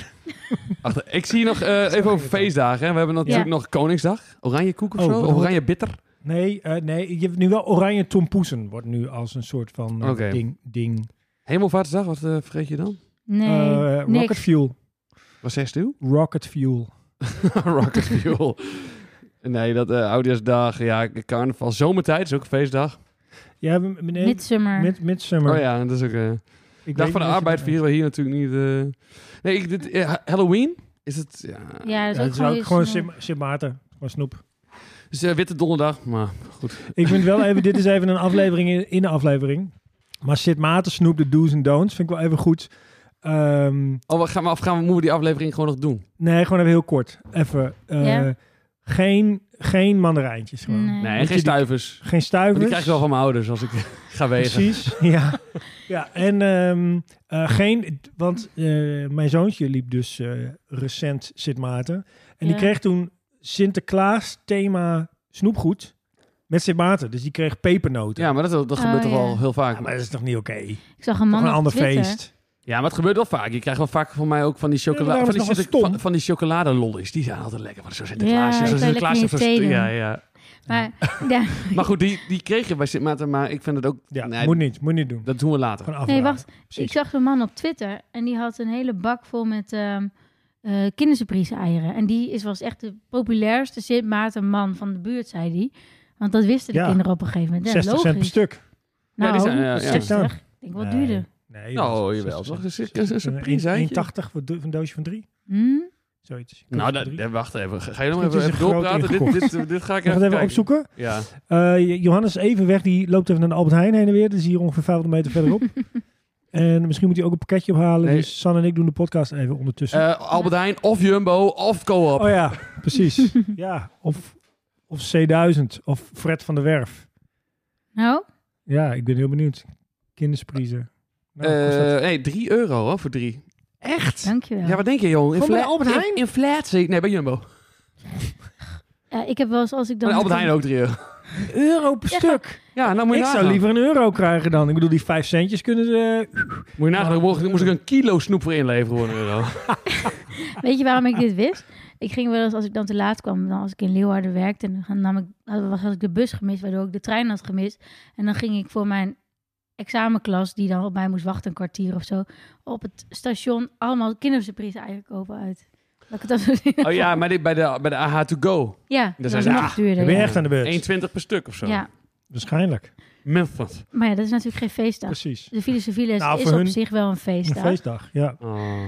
S3: Wacht, ik zie nog eh, even over feestdagen. Hè. We hebben natuurlijk nog Koningsdag. Oranje koek of
S1: Oh,
S3: zo.
S1: wat
S3: Of
S1: hoort-
S3: oranje bitter.
S1: Nee, eh, nee, je hebt nu wel oranje tompoesen. Wordt nu als een soort van eh,
S3: Oké.
S1: ding. ding.
S3: Hemelvaartsdag, wat eh vergeet je dan?
S4: Nee,
S1: Eh, rocket
S4: niks.
S1: fuel.
S3: Wat zegt u?
S1: Rocket fuel.
S3: Rocket Fuel. Nee, dat eh Oudjaarsdag, ja, carnaval. Zomertijd is ook een feestdag.
S1: Ja, m- m- nee,
S4: Midsummer.
S1: mid, midsummer.
S3: Oh ja, dat is ook... eh
S1: Ik
S3: dag
S1: weet
S3: van de
S1: niet of je-
S3: arbeid vieren we hier natuurlijk niet. eh. Nee, ik, dit, eh, Halloween is het... Ja.
S4: ja, dat
S1: Ja,
S4: is ook
S1: het is
S4: gewoon,
S1: ook gewoon
S4: snoep.
S1: Sint Sint Maarten. Gewoon snoep.
S3: Het is eh, Witte Donderdag, maar
S1: Ik vind wel even, dit is even een aflevering in, in de aflevering. Maar Sint Maarten snoep, de do's en don'ts, vind ik wel even goed. Ehm,
S3: Oh, we gaan, we, of gaan we, moeten we die aflevering gewoon nog doen?
S1: nee, gewoon even heel kort. Even. eh,
S4: Ja.
S1: geen, geen mandarijntjes gewoon.
S3: Nee,
S4: Nee.
S1: Moet
S3: geen
S1: je die-
S3: stuivers.
S1: Geen
S3: Want
S1: stuivers.
S3: die krijg ik wel van mijn ouders als ik ga wegen.
S1: Precies, ja. ja en ehm, eh, geen, want eh, mijn zoontje liep dus eh, recent Sint Maarten. En die
S4: Ja.
S1: kreeg toen Sinterklaas thema snoepgoed met Sint Maarten. Dus die kreeg pepernoten.
S3: Ja, maar dat, dat gebeurt
S4: Oh,
S3: toch wel
S4: ja.
S3: heel vaak.
S1: Ja, maar dat is toch niet oké?
S4: Ik zag een
S1: Toch
S4: man
S1: een
S4: op
S1: ander
S4: Twitter.
S1: feest.
S3: Ja, maar het gebeurt wel vaak. Je krijgt wel vaak voor mij ook van die chocola,
S1: Ja, maar
S3: van,
S1: daarom
S3: die
S1: is het nog wel
S3: van, van die chocoladalollies. Die zijn altijd lekker. Want zo Sinterklaas.
S4: Ja,
S3: Ja,
S4: ik
S3: zo
S4: kan je
S3: Sinterklaas
S4: lekker
S3: heeft
S4: in je
S3: zo'n-
S4: thee
S3: ja,
S4: doen.
S3: ja.
S4: Maar, ja.
S3: Maar goed, die, die kreeg je bij Sint Maarten. Maar ik vind het ook...
S1: Ja,
S3: nee,
S1: moet niet, moet niet doen.
S3: Dat doen we later.
S1: Gewoon
S4: Nee,
S1: afraden.
S4: wacht.
S1: Precies.
S4: Ik zag een man op Twitter en die had een hele bak vol met ehm eh, kindersurprise-eieren. En die is, was echt de populairste Sint Maarten man van de buurt, zei die. Want dat wisten de
S1: Ja.
S4: kinderen op een gegeven moment. Ja,
S1: 60 cent per
S4: logisch.
S1: stuk.
S4: Nou,
S3: Ja, die zijn- eh, ja, ja.
S4: 60. Ik denk, wat
S1: Nee.
S4: duurder?
S1: Nee,
S3: Nou, jawel, toch? Dat is een- dat is een prijzaatje.
S1: 1,80 voor do- voor een doosje van drie.
S4: Hm?
S1: Zoiets.
S3: Nou,
S1: Doosje van
S3: dat,
S1: drie.
S3: dat- wacht even. Ga ga je nog
S1: Misschien
S3: even,
S1: is het
S3: even
S1: groot
S3: doorpraten? Dit,
S1: ingekocht.
S3: dit, dit ga ik
S1: Mag ik
S3: even,
S1: het even
S3: kijken.
S1: opzoeken?
S3: Ja.
S1: Eh, Johannes is even weg, die loopt even naar de Albert Heijn heen en weer. Dat is hier ongeveer 500 meter verderop. en misschien moet hij ook een pakketje ophalen.
S3: Nee.
S1: Dus San en ik doen de podcast even ondertussen.
S3: Eh, Albert Heijn of Jumbo of Co-op.
S1: oh ja, precies. ja, of, of C1000 of Fred van der Werf.
S4: Nou,
S1: Ja, ik ben heel benieuwd. Kinderspriezen. Nou, kost dat-
S3: Eh, nee, 3 euro hoor, voor 3. Echt?
S4: dankjewel.
S3: Ja, wat denk je, joh?
S1: Gewoon bij
S3: Infla-
S1: Albert Heijn?
S3: in- Inflatie. Nee, bij Jumbo.
S4: Ja, ik heb wel eens als ik dan...
S3: Bij Oh, Albert Heijn ook 3 euro.
S1: euro per
S4: Ja,
S1: stuk.
S3: Ja, nou moet je
S1: ik zou
S3: nagaan.
S1: liever een euro krijgen dan. Ik bedoel, die vijf centjes kunnen ze... eh,
S3: Moet je nagaan, daar mocht, moest ik een kilo snoep voor inleveren voor een euro.
S4: Weet je waarom ik dit wist? Ik ging wel eens, als ik dan te laat kwam, dan als ik in Leeuwarden werkte, en dan nam ik, had, had ik de bus gemist, waardoor ik de trein had gemist. En dan ging ik voor mijn examenklas, die dan op mij moest wachten een kwartier of zo, op het station allemaal kindersurprise eieren kopen uit. Dat ik het dan zo zin had.
S3: Oh ja, maar dit, bij, de, bij de AH to go.
S4: Ja,
S3: Dat
S4: dat
S3: zijn
S4: is
S3: ze-
S4: nog
S3: ah,
S1: Dan
S4: duurder.
S1: ben je
S4: Ja.
S1: echt aan de beurt.
S3: 1,20 per stuk of zo.
S4: Ja,
S1: Waarschijnlijk.
S3: Memphis.
S4: maar ja, dat is natuurlijk geen feestdag.
S1: Precies.
S4: De filosofie les
S1: Nou,
S4: is
S1: voor
S4: op
S1: hun-
S4: zich wel een
S1: Een
S4: feestdag.
S1: feestdag, ja.
S3: Oh.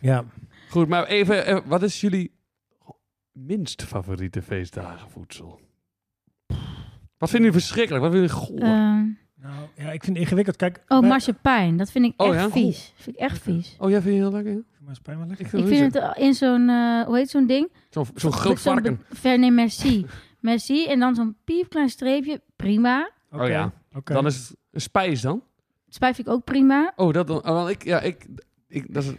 S1: ja.
S3: Goed, maar even, eh, wat is jullie minst favoriete feestdagenvoedsel? Wat vinden jullie verschrikkelijk? Wat vinden jullie goor?
S4: Ehm,
S1: Nou, ja, ik vind het ingewikkeld. Kijk,
S4: oh,
S1: bij-
S4: marsepein, dat vind ik
S3: Oh
S4: echt
S3: ja?
S4: vies. vind ik echt vies.
S3: oh, jij vindt je heel lekker? ja?
S1: Marsepein wel lekker.
S4: Ik vind het in zo'n, eh, hoe heet zo'n ding?
S3: Zo'n zo'n groot
S4: Zo'n
S3: varken.
S4: be- ver- nee, merci. merci en dan zo'n piepklein streepje, prima.
S1: Oké,
S3: Oh ja.
S1: oké.
S3: Dan is het een spijs dan?
S4: Spijf vind ik ook prima.
S3: Oh, dat dan. Oh, want ik, ja, ik, ik, dat is, we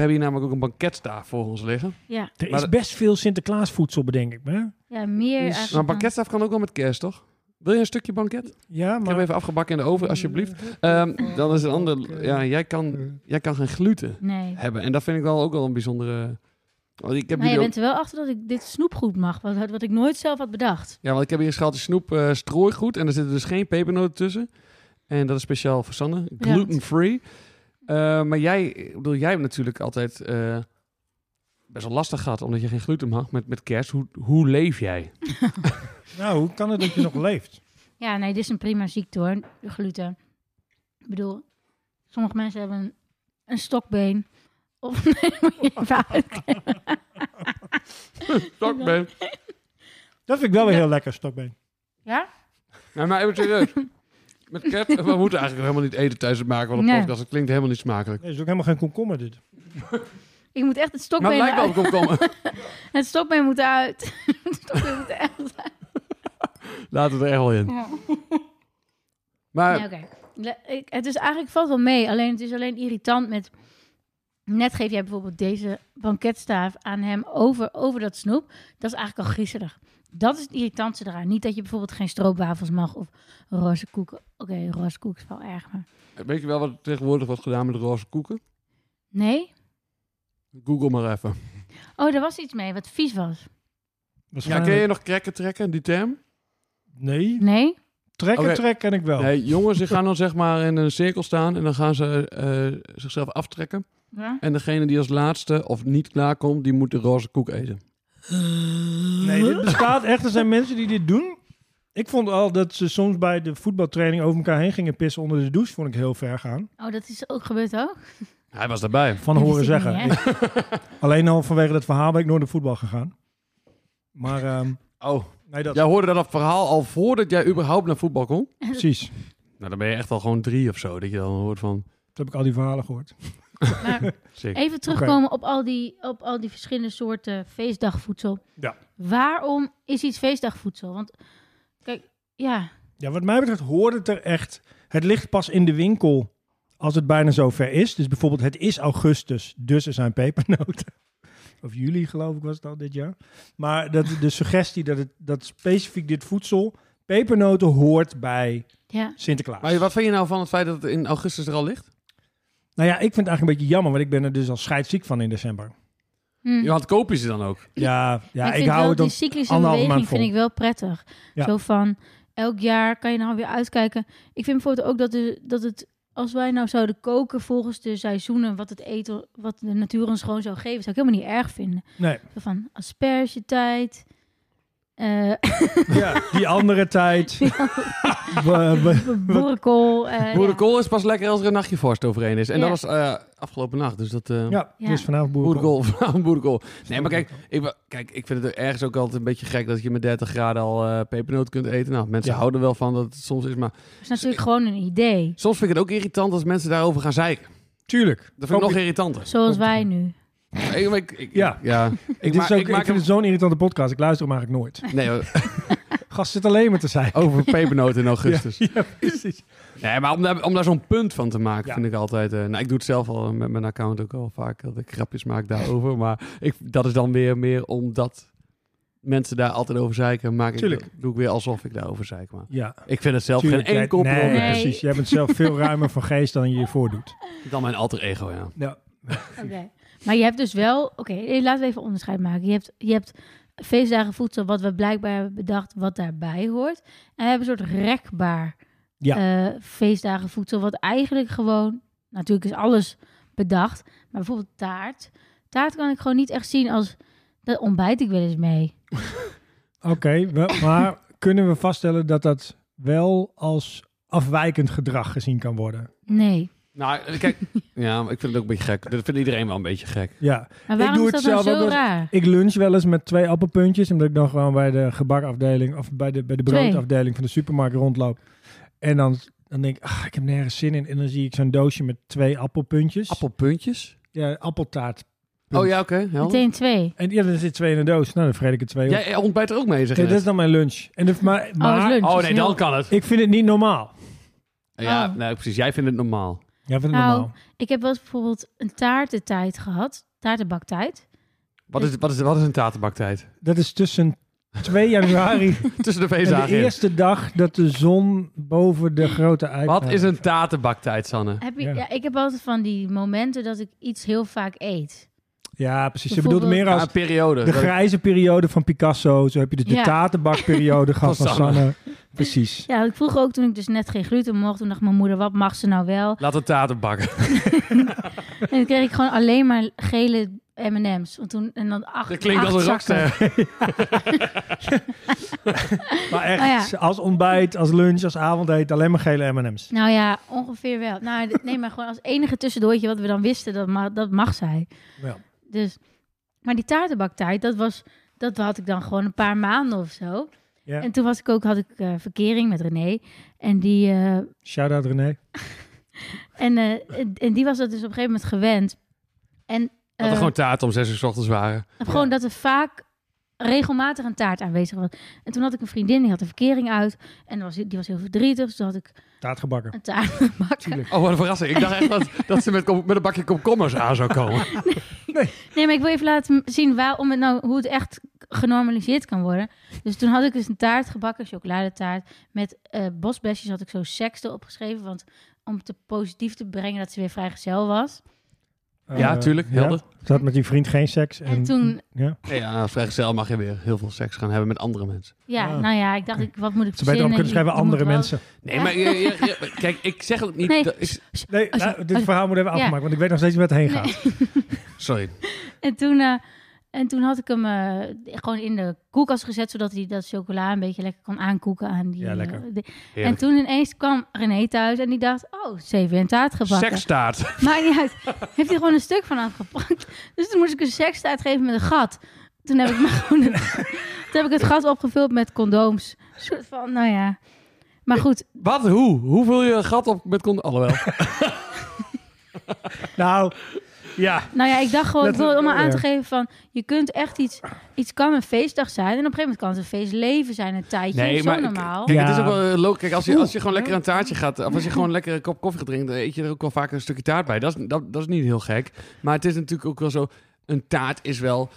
S3: hebben hier namelijk ook een banketstaaf voor ons liggen.
S4: Ja,
S1: Er
S3: Maar
S1: is
S3: dat-
S1: best veel Sinterklaasvoedsel, bedenk ik me.
S4: ja meer
S1: Is-
S4: eigenlijk
S3: Maar een
S4: dan-
S3: banketstaaf kan ook wel met kerst, toch? Wil je een stukje banket?
S1: Ja,
S3: Ik
S1: maar...
S3: heb even afgebakken in de oven, alsjeblieft.
S4: Mm.
S3: Ehm, dan is een ander... Ja, jij kan, jij kan geen gluten
S4: Nee.
S3: hebben. En dat vind ik wel ook wel een bijzondere... Want ik heb
S4: Maar je
S3: jullie ook-
S4: bent er wel achter dat ik dit snoepgoed mag, wat, wat ik nooit zelf had bedacht.
S3: Ja, want ik heb hier een schaaltje snoep eh, strooigoed. En er zitten dus geen pepernoten tussen. En dat is speciaal voor Sanne.
S4: Ja.
S3: Gluten-free. Eh, maar jij, ik bedoel, jij hebt natuurlijk altijd eh, best wel lastig gehad. Omdat je geen gluten mag met, met kerst. Hoe, hoe leef jij?
S1: Nou, hoe kan het dat je nog leeft?
S4: Ja, nee, dit is een prima ziekte hoor, de gluten. Ik bedoel, sommige mensen hebben een, een stokbeen. Of nee, moet je even uit-
S3: Stok ben.
S1: Dat vind ik wel weer heel lekker, stokbeen.
S4: Ja?
S3: Nee, maar even serieus. Met kerst, we moeten eigenlijk helemaal niet eten tijdens het maken van een
S4: Nee.
S3: podcast. Dat klinkt helemaal niet smakelijk.
S1: Nee, is ook helemaal geen komkommer dit.
S4: Ik moet
S3: Maar
S4: echt het
S3: het
S4: stokbeen
S3: Nou, lijkt wel
S4: eruit.
S3: op komkommer.
S4: Het stokbeen moet eruit. Het stokbeen moet eruit.
S3: Laten we er echt wel in.
S4: Ja.
S3: Maar
S4: Ja, oké. Le- ik- Het is eigenlijk valt wel mee. Alleen het is alleen irritant met. Net geef jij bijvoorbeeld deze banketstaaf aan hem over, over dat snoep. Dat is eigenlijk al griezerig. Dat is het irritantste eraan. Niet dat je bijvoorbeeld geen stroopwafels mag of roze koeken. Oké, roze koek is wel erg, maar...
S3: weet je wel wat er tegenwoordig wordt gedaan met de roze koeken?
S4: Nee?
S3: Google maar even.
S4: Oh, daar was iets mee wat vies was.
S3: Ja, kun je nog krekken trekken, die term?
S1: Nee,
S4: Nee?
S1: trekken,
S3: Oké.
S1: trek ken ik wel.
S3: Nee, jongens die gaan dan zeg maar in een cirkel staan en dan gaan ze eh, zichzelf aftrekken.
S4: Ja?
S3: En degene die als laatste of niet klaarkomt, die moet de roze koek eten.
S1: Nee, dit bestaat echt. Er zijn mensen die dit doen. Ik vond al dat ze soms bij de voetbaltraining over elkaar heen gingen pissen onder de douche. Vond ik heel ver gaan.
S4: Oh, dat is ook gebeurd ook?
S3: Hij was daarbij.
S1: Van
S4: Dat
S1: horen
S4: wist ik
S1: zeggen.
S4: niet, hè?
S1: Alleen al vanwege dat verhaal ben ik nooit naar voetbal gegaan. Maar ehm,
S3: Oh,
S1: nee, dat
S3: jij hoorde dat verhaal al voordat jij überhaupt naar voetbal kon?
S1: precies. Dat
S3: Nou, dan ben je echt al gewoon drie of zo, dat je dan hoort van...
S1: heb ik al die verhalen gehoord.
S4: Maar
S3: Sick.
S4: even terugkomen op, al die, op al die verschillende soorten feestdagvoedsel.
S1: Ja.
S4: Waarom is iets feestdagvoedsel? Want kijk, ja,
S1: Ja, wat mij betreft hoort het er echt. Het ligt pas in de winkel als het bijna zover is. Dus bijvoorbeeld, het is augustus, dus er zijn pepernoten. Of juli, geloof ik, was het al dit jaar. Maar dat, de suggestie dat, het, dat specifiek dit voedsel, pepernoten, hoort bij
S4: ja.
S1: Sinterklaas.
S3: Maar wat vind je nou van het feit dat het in augustus er al ligt?
S1: Nou ja, ik vind het eigenlijk een beetje jammer, want ik ben er dus al scheidsziek van in december.
S4: Hm.
S3: Je had kopen ze dan ook.
S1: Ja, ja
S4: Maar
S1: ik,
S4: vind
S1: hou
S4: wel
S1: het dan.
S4: die cyclische
S1: anderhalve maand
S4: beweging
S1: vol.
S4: vind ik wel prettig.
S1: Ja.
S4: Zo van elk jaar kan je nou weer uitkijken. Ik vind bijvoorbeeld ook dat, de, dat het als wij nou zouden koken volgens de seizoenen wat het eten wat de natuur ons gewoon zou geven, zou ik helemaal niet erg vinden.
S1: Nee,
S4: Zo van aspergetijd. eh
S1: ja, die andere tijd. We- we-
S4: boerenkool. eh, ja.
S3: Boerenkool is pas lekker als er een nachtje vorst overheen is. En
S4: Ja.
S3: dat was eh, afgelopen nacht, dus dat... eh,
S1: ja,
S4: Ja.
S1: dus vanavond boerenkool.
S3: Boerenkool, vanavond boerenkool. Nee, maar kijk ik, wa- kijk, ik vind het ergens ook altijd een beetje gek dat je met 30 graden al eh pepernoot kunt eten. Nou, mensen
S1: Ja.
S3: houden wel van dat het soms is, maar
S4: Dat is natuurlijk gewoon een idee.
S3: soms vind ik het ook irritant als mensen daarover gaan zeiken.
S1: Tuurlijk.
S3: Dat vind ik nog
S1: Ook-
S3: irritanter.
S4: Zoals wij nu.
S3: Ik, ik, ik-
S1: Ja.
S3: ja.
S1: Ik,
S3: Ik,
S1: dit
S3: maak,
S1: is ook,
S3: ik
S1: ik,
S3: maak
S1: vind
S3: hem
S1: het zo'n irritante podcast. Ik luister hem eigenlijk nooit.
S3: nee, hoor,
S1: Gast zit alleen maar te zijn.
S3: over pepernoot in augustus.
S1: Ja, ja, precies.
S3: Nee, maar om daar, om daar zo'n punt van te maken,
S1: Ja.
S3: vind ik altijd... eh, nou, ik doe het zelf al met mijn account ook al vaak, dat ik grapjes maak daarover. Maar ik, dat is dan weer meer omdat mensen daar altijd over zeiken. Maak ik,
S1: Tuurlijk.
S3: doe ik weer alsof ik daarover zeik, maar...
S1: Ja,
S3: Ik vind het zelf
S1: tuurlijk.
S3: geen
S1: Jij-
S3: enkel
S1: nee,
S3: probleem.
S4: Nee.
S1: precies. Jij bent zelf veel ruimer van geest dan je je voordoet.
S3: Dan mijn alter ego, ja.
S1: Ja.
S4: Oké. Maar je hebt dus wel, oké, eh, laten we even onderscheid maken. Je hebt, je hebt feestdagen voedsel, wat we blijkbaar hebben bedacht, wat daarbij hoort. En we hebben een soort rekbaar
S1: Ja.
S4: eh, feestdagen voedsel, wat eigenlijk gewoon, natuurlijk is alles bedacht, maar bijvoorbeeld taart. Taart kan ik gewoon niet echt zien als, dat ontbijt ik wel eens mee.
S1: Oké, we- maar kunnen we vaststellen dat dat wel als afwijkend gedrag gezien kan worden?
S4: Nee.
S3: Nou, eh, kijk. ja, maar ik vind het ook een beetje gek. Dat vindt iedereen wel een beetje gek.
S1: Ja.
S4: Maar waarom
S1: doe
S4: is
S1: het
S4: dat nou
S1: zelf ook
S4: zo
S1: wel eens.
S4: raar?
S1: Ik lunch wel eens met twee appelpuntjes. Omdat ik dan gewoon bij de gebakafdeling of bij de, bij de
S4: Twee.
S1: broodafdeling van de supermarkt rondloop. En dan, dan denk ik, ah, ik heb nergens zin in. En dan zie ik zo'n doosje met twee appelpuntjes.
S3: Appelpuntjes?
S1: Ja, appeltaart.
S3: Oh ja, oké. helder.
S4: Meteen twee.
S1: En ja, er zit twee in een doos. Nou, dan vrede ik er twee op.
S3: Jij eh, ontbijt er ook mee, zeg
S1: Kijk, dat
S3: je
S1: is dan mijn lunch. En de, maar, maar
S4: dat is lunch.
S3: Oh nee, dan
S4: Heel-
S3: kan het.
S1: ik vind het niet normaal.
S3: Ja,
S1: Ah.
S4: Oh.
S3: nou, precies. Jij vindt het normaal.
S1: Ja, vind het
S4: Nou,
S1: normaal.
S4: Ik heb wel eens bijvoorbeeld een taartentijd gehad, taartenbaktijd.
S3: Wat is, wat is, wat is een tatenbaktijd?
S1: Dat is tussen 2 januari en
S3: Tussen de
S1: de
S3: feestdagen. in.
S1: eerste dag dat de zon boven de grote ei.
S3: Wat
S1: gaat.
S3: is een tatenbaktijd, Sanne?
S4: Heb je,
S1: Ja.
S4: ja. ik heb altijd van die momenten dat ik iets heel vaak eet.
S1: Ja, precies. Je bedoelt meer
S3: Ja,
S1: als
S3: een periode.
S1: de grijze periode van Picasso. Zo heb je dus de
S4: Ja.
S1: tatenbakperiode gehad
S3: Van
S1: van
S3: Sanne.
S1: Sanne. Precies.
S4: Ja, ik vroeg ook toen ik dus net geen gluten mocht. Toen dacht mijn moeder, wat mag ze nou wel?
S3: Laat een taten bakken.
S4: En toen kreeg ik gewoon alleen maar gele M&M's. Want toen, en dan acht
S3: Dat klinkt als
S4: acht
S3: een
S4: zakken.
S3: rockster.
S4: Oh,
S1: Maar echt, als ontbijt, als lunch, als avondeten, alleen maar gele M&M's.
S4: Nou ja, ongeveer wel. Nou, d- nee, maar gewoon als enige tussendoortje wat we dan wisten, dat, ma dat mag zij.
S1: Ja.
S4: Dus, maar die taartenbaktijd, dat was... Dat had ik dan gewoon een paar maanden of zo.
S1: Ja.
S4: En toen was ik ook, had ik eh, verkering met René. En die, eh,
S1: Shout-out René.
S4: en, eh, en- en die was dat dus op een gegeven moment gewend. En,
S3: Dat er
S4: eh,
S3: gewoon taten om zes uur 's ochtends waren.
S4: Of Gewoon dat er vaak regelmatig een taart aanwezig was. En toen had ik een vriendin, die had een verkering uit. En dat was, die was heel verdrietig. Dus toen had ik
S1: Taartgebakken.
S4: een taart gebakken.
S3: Oh, wat een verrassing. Ik dacht echt dat, dat ze met, kom- met een bakje komkommers aan zou komen.
S4: Nee, maar ik wil even laten zien waarom het nou, hoe het echt genormaliseerd kan worden. Dus toen had ik dus een taart gebakken, een chocoladetaart. Met eh bosbesjes had ik zo seks erop geschreven. Want om te positief te brengen dat ze weer vrijgezel was.
S3: ja,
S1: Eh,
S3: tuurlijk. Helder.
S1: Ze had met die vriend geen seks. En, hm.
S4: En toen,
S1: Ja.
S3: Nee, ja, vrijgezel mag je weer heel veel seks gaan hebben met andere mensen.
S4: ja,
S1: Ah.
S4: nou ja, ik dacht, ik, wat moet ik
S1: Ze beter op
S4: verzinnen?
S1: kunnen
S4: Je-
S1: schrijven
S4: je
S1: andere
S4: moet wel-
S1: mensen.
S3: Nee, maar je- je- je- kijk, ik zeg ook niet...
S4: Nee.
S3: dat ik-
S1: Nee,
S4: Als je-
S1: nou, dit
S4: als-
S1: verhaal moet even
S4: ja.
S1: afgemaakt, want ik weet nog steeds niet waar het heen gaat.
S3: sorry.
S4: En toen, eh, en toen had ik hem eh, gewoon in de koelkast gezet, zodat hij dat chocola een beetje lekker kon aankoeken aan die.
S1: Ja, lekker.
S4: eh, de- en
S3: Heerlijk.
S4: toen ineens kwam René thuis en die dacht, oh, zeven in taart gebakken.
S3: Sekstaart.
S4: Maakt niet uit. Heeft hij gewoon een stuk van afgepakt. Dus toen moest ik een sekstaart geven met een gat. Toen heb ik, maar gewoon een- toen heb ik het gat opgevuld met condooms. Een soort van, nou ja. Maar goed,
S3: Wat? Hoe? Hoe vul je een gat op met kont? Alhoewel.
S1: Nou, ja.
S4: nou ja, ik dacht gewoon, ik
S1: Laten we-
S4: wilde allemaal aan te
S1: ja.
S4: geven van... Je kunt echt iets... Iets kan een feestdag zijn. En op een gegeven moment kan het een feestleven zijn. Een tijdje. zo
S3: ik-
S4: normaal.
S3: Kijk,
S1: Ja.
S3: het is ook wel eh, leuk. Kijk, als je,
S1: Oeh.
S3: als je gewoon lekker een taartje gaat, of als je gewoon lekker een kop koffie gaat drinken, dan eet je er ook wel vaak een stukje taart bij. Dat is, dat, dat is niet heel gek. Maar het is natuurlijk ook wel zo, een taart is wel...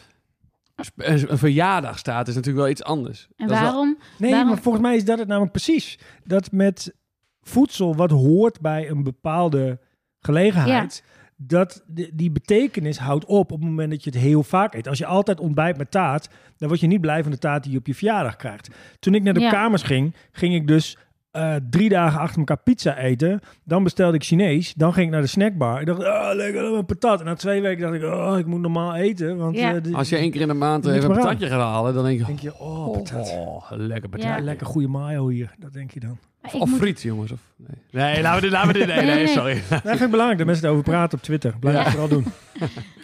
S3: sp- Een een verjaardagstaart is natuurlijk wel iets anders.
S4: En
S3: Dat is wel-
S4: waarom?
S1: Nee,
S4: Waarom-
S1: maar volgens mij is dat het namelijk precies. Dat met voedsel wat hoort bij een bepaalde gelegenheid, dat de- die betekenis houdt op op het moment dat je het heel vaak eet. Als je altijd ontbijt met taart, dan word je niet blij van de taart die je op je verjaardag krijgt. Toen ik naar de
S4: Ja.
S1: kamers ging, ging ik dus eh, drie dagen achter elkaar pizza eten. Dan bestelde ik Chinees. Dan ging ik naar de snackbar. Ik dacht, oh, lekker, oh, een patat. En na twee weken dacht ik, oh, ik moet normaal eten. Want
S4: Ja.
S1: eh, dit-
S3: Als je één keer in de maand eh,
S1: Niks
S3: even een
S1: meer aan.
S3: patatje gaat halen, dan denk je...
S1: denk je, oh,
S3: Oh,
S1: patat.
S3: lekker patat.
S4: Ja.
S1: Lekker goede mayo hier, dat denk je dan.
S4: Maar ik
S3: Of
S4: moet-
S3: friet, jongens. Of, nee. nee, laten we dit... Laten we dit nee,
S4: Nee,
S3: nee,
S4: nee.
S3: sorry.
S1: Dat vind ik belangrijk dat mensen erover praten op Twitter. Blijf het vooral doen.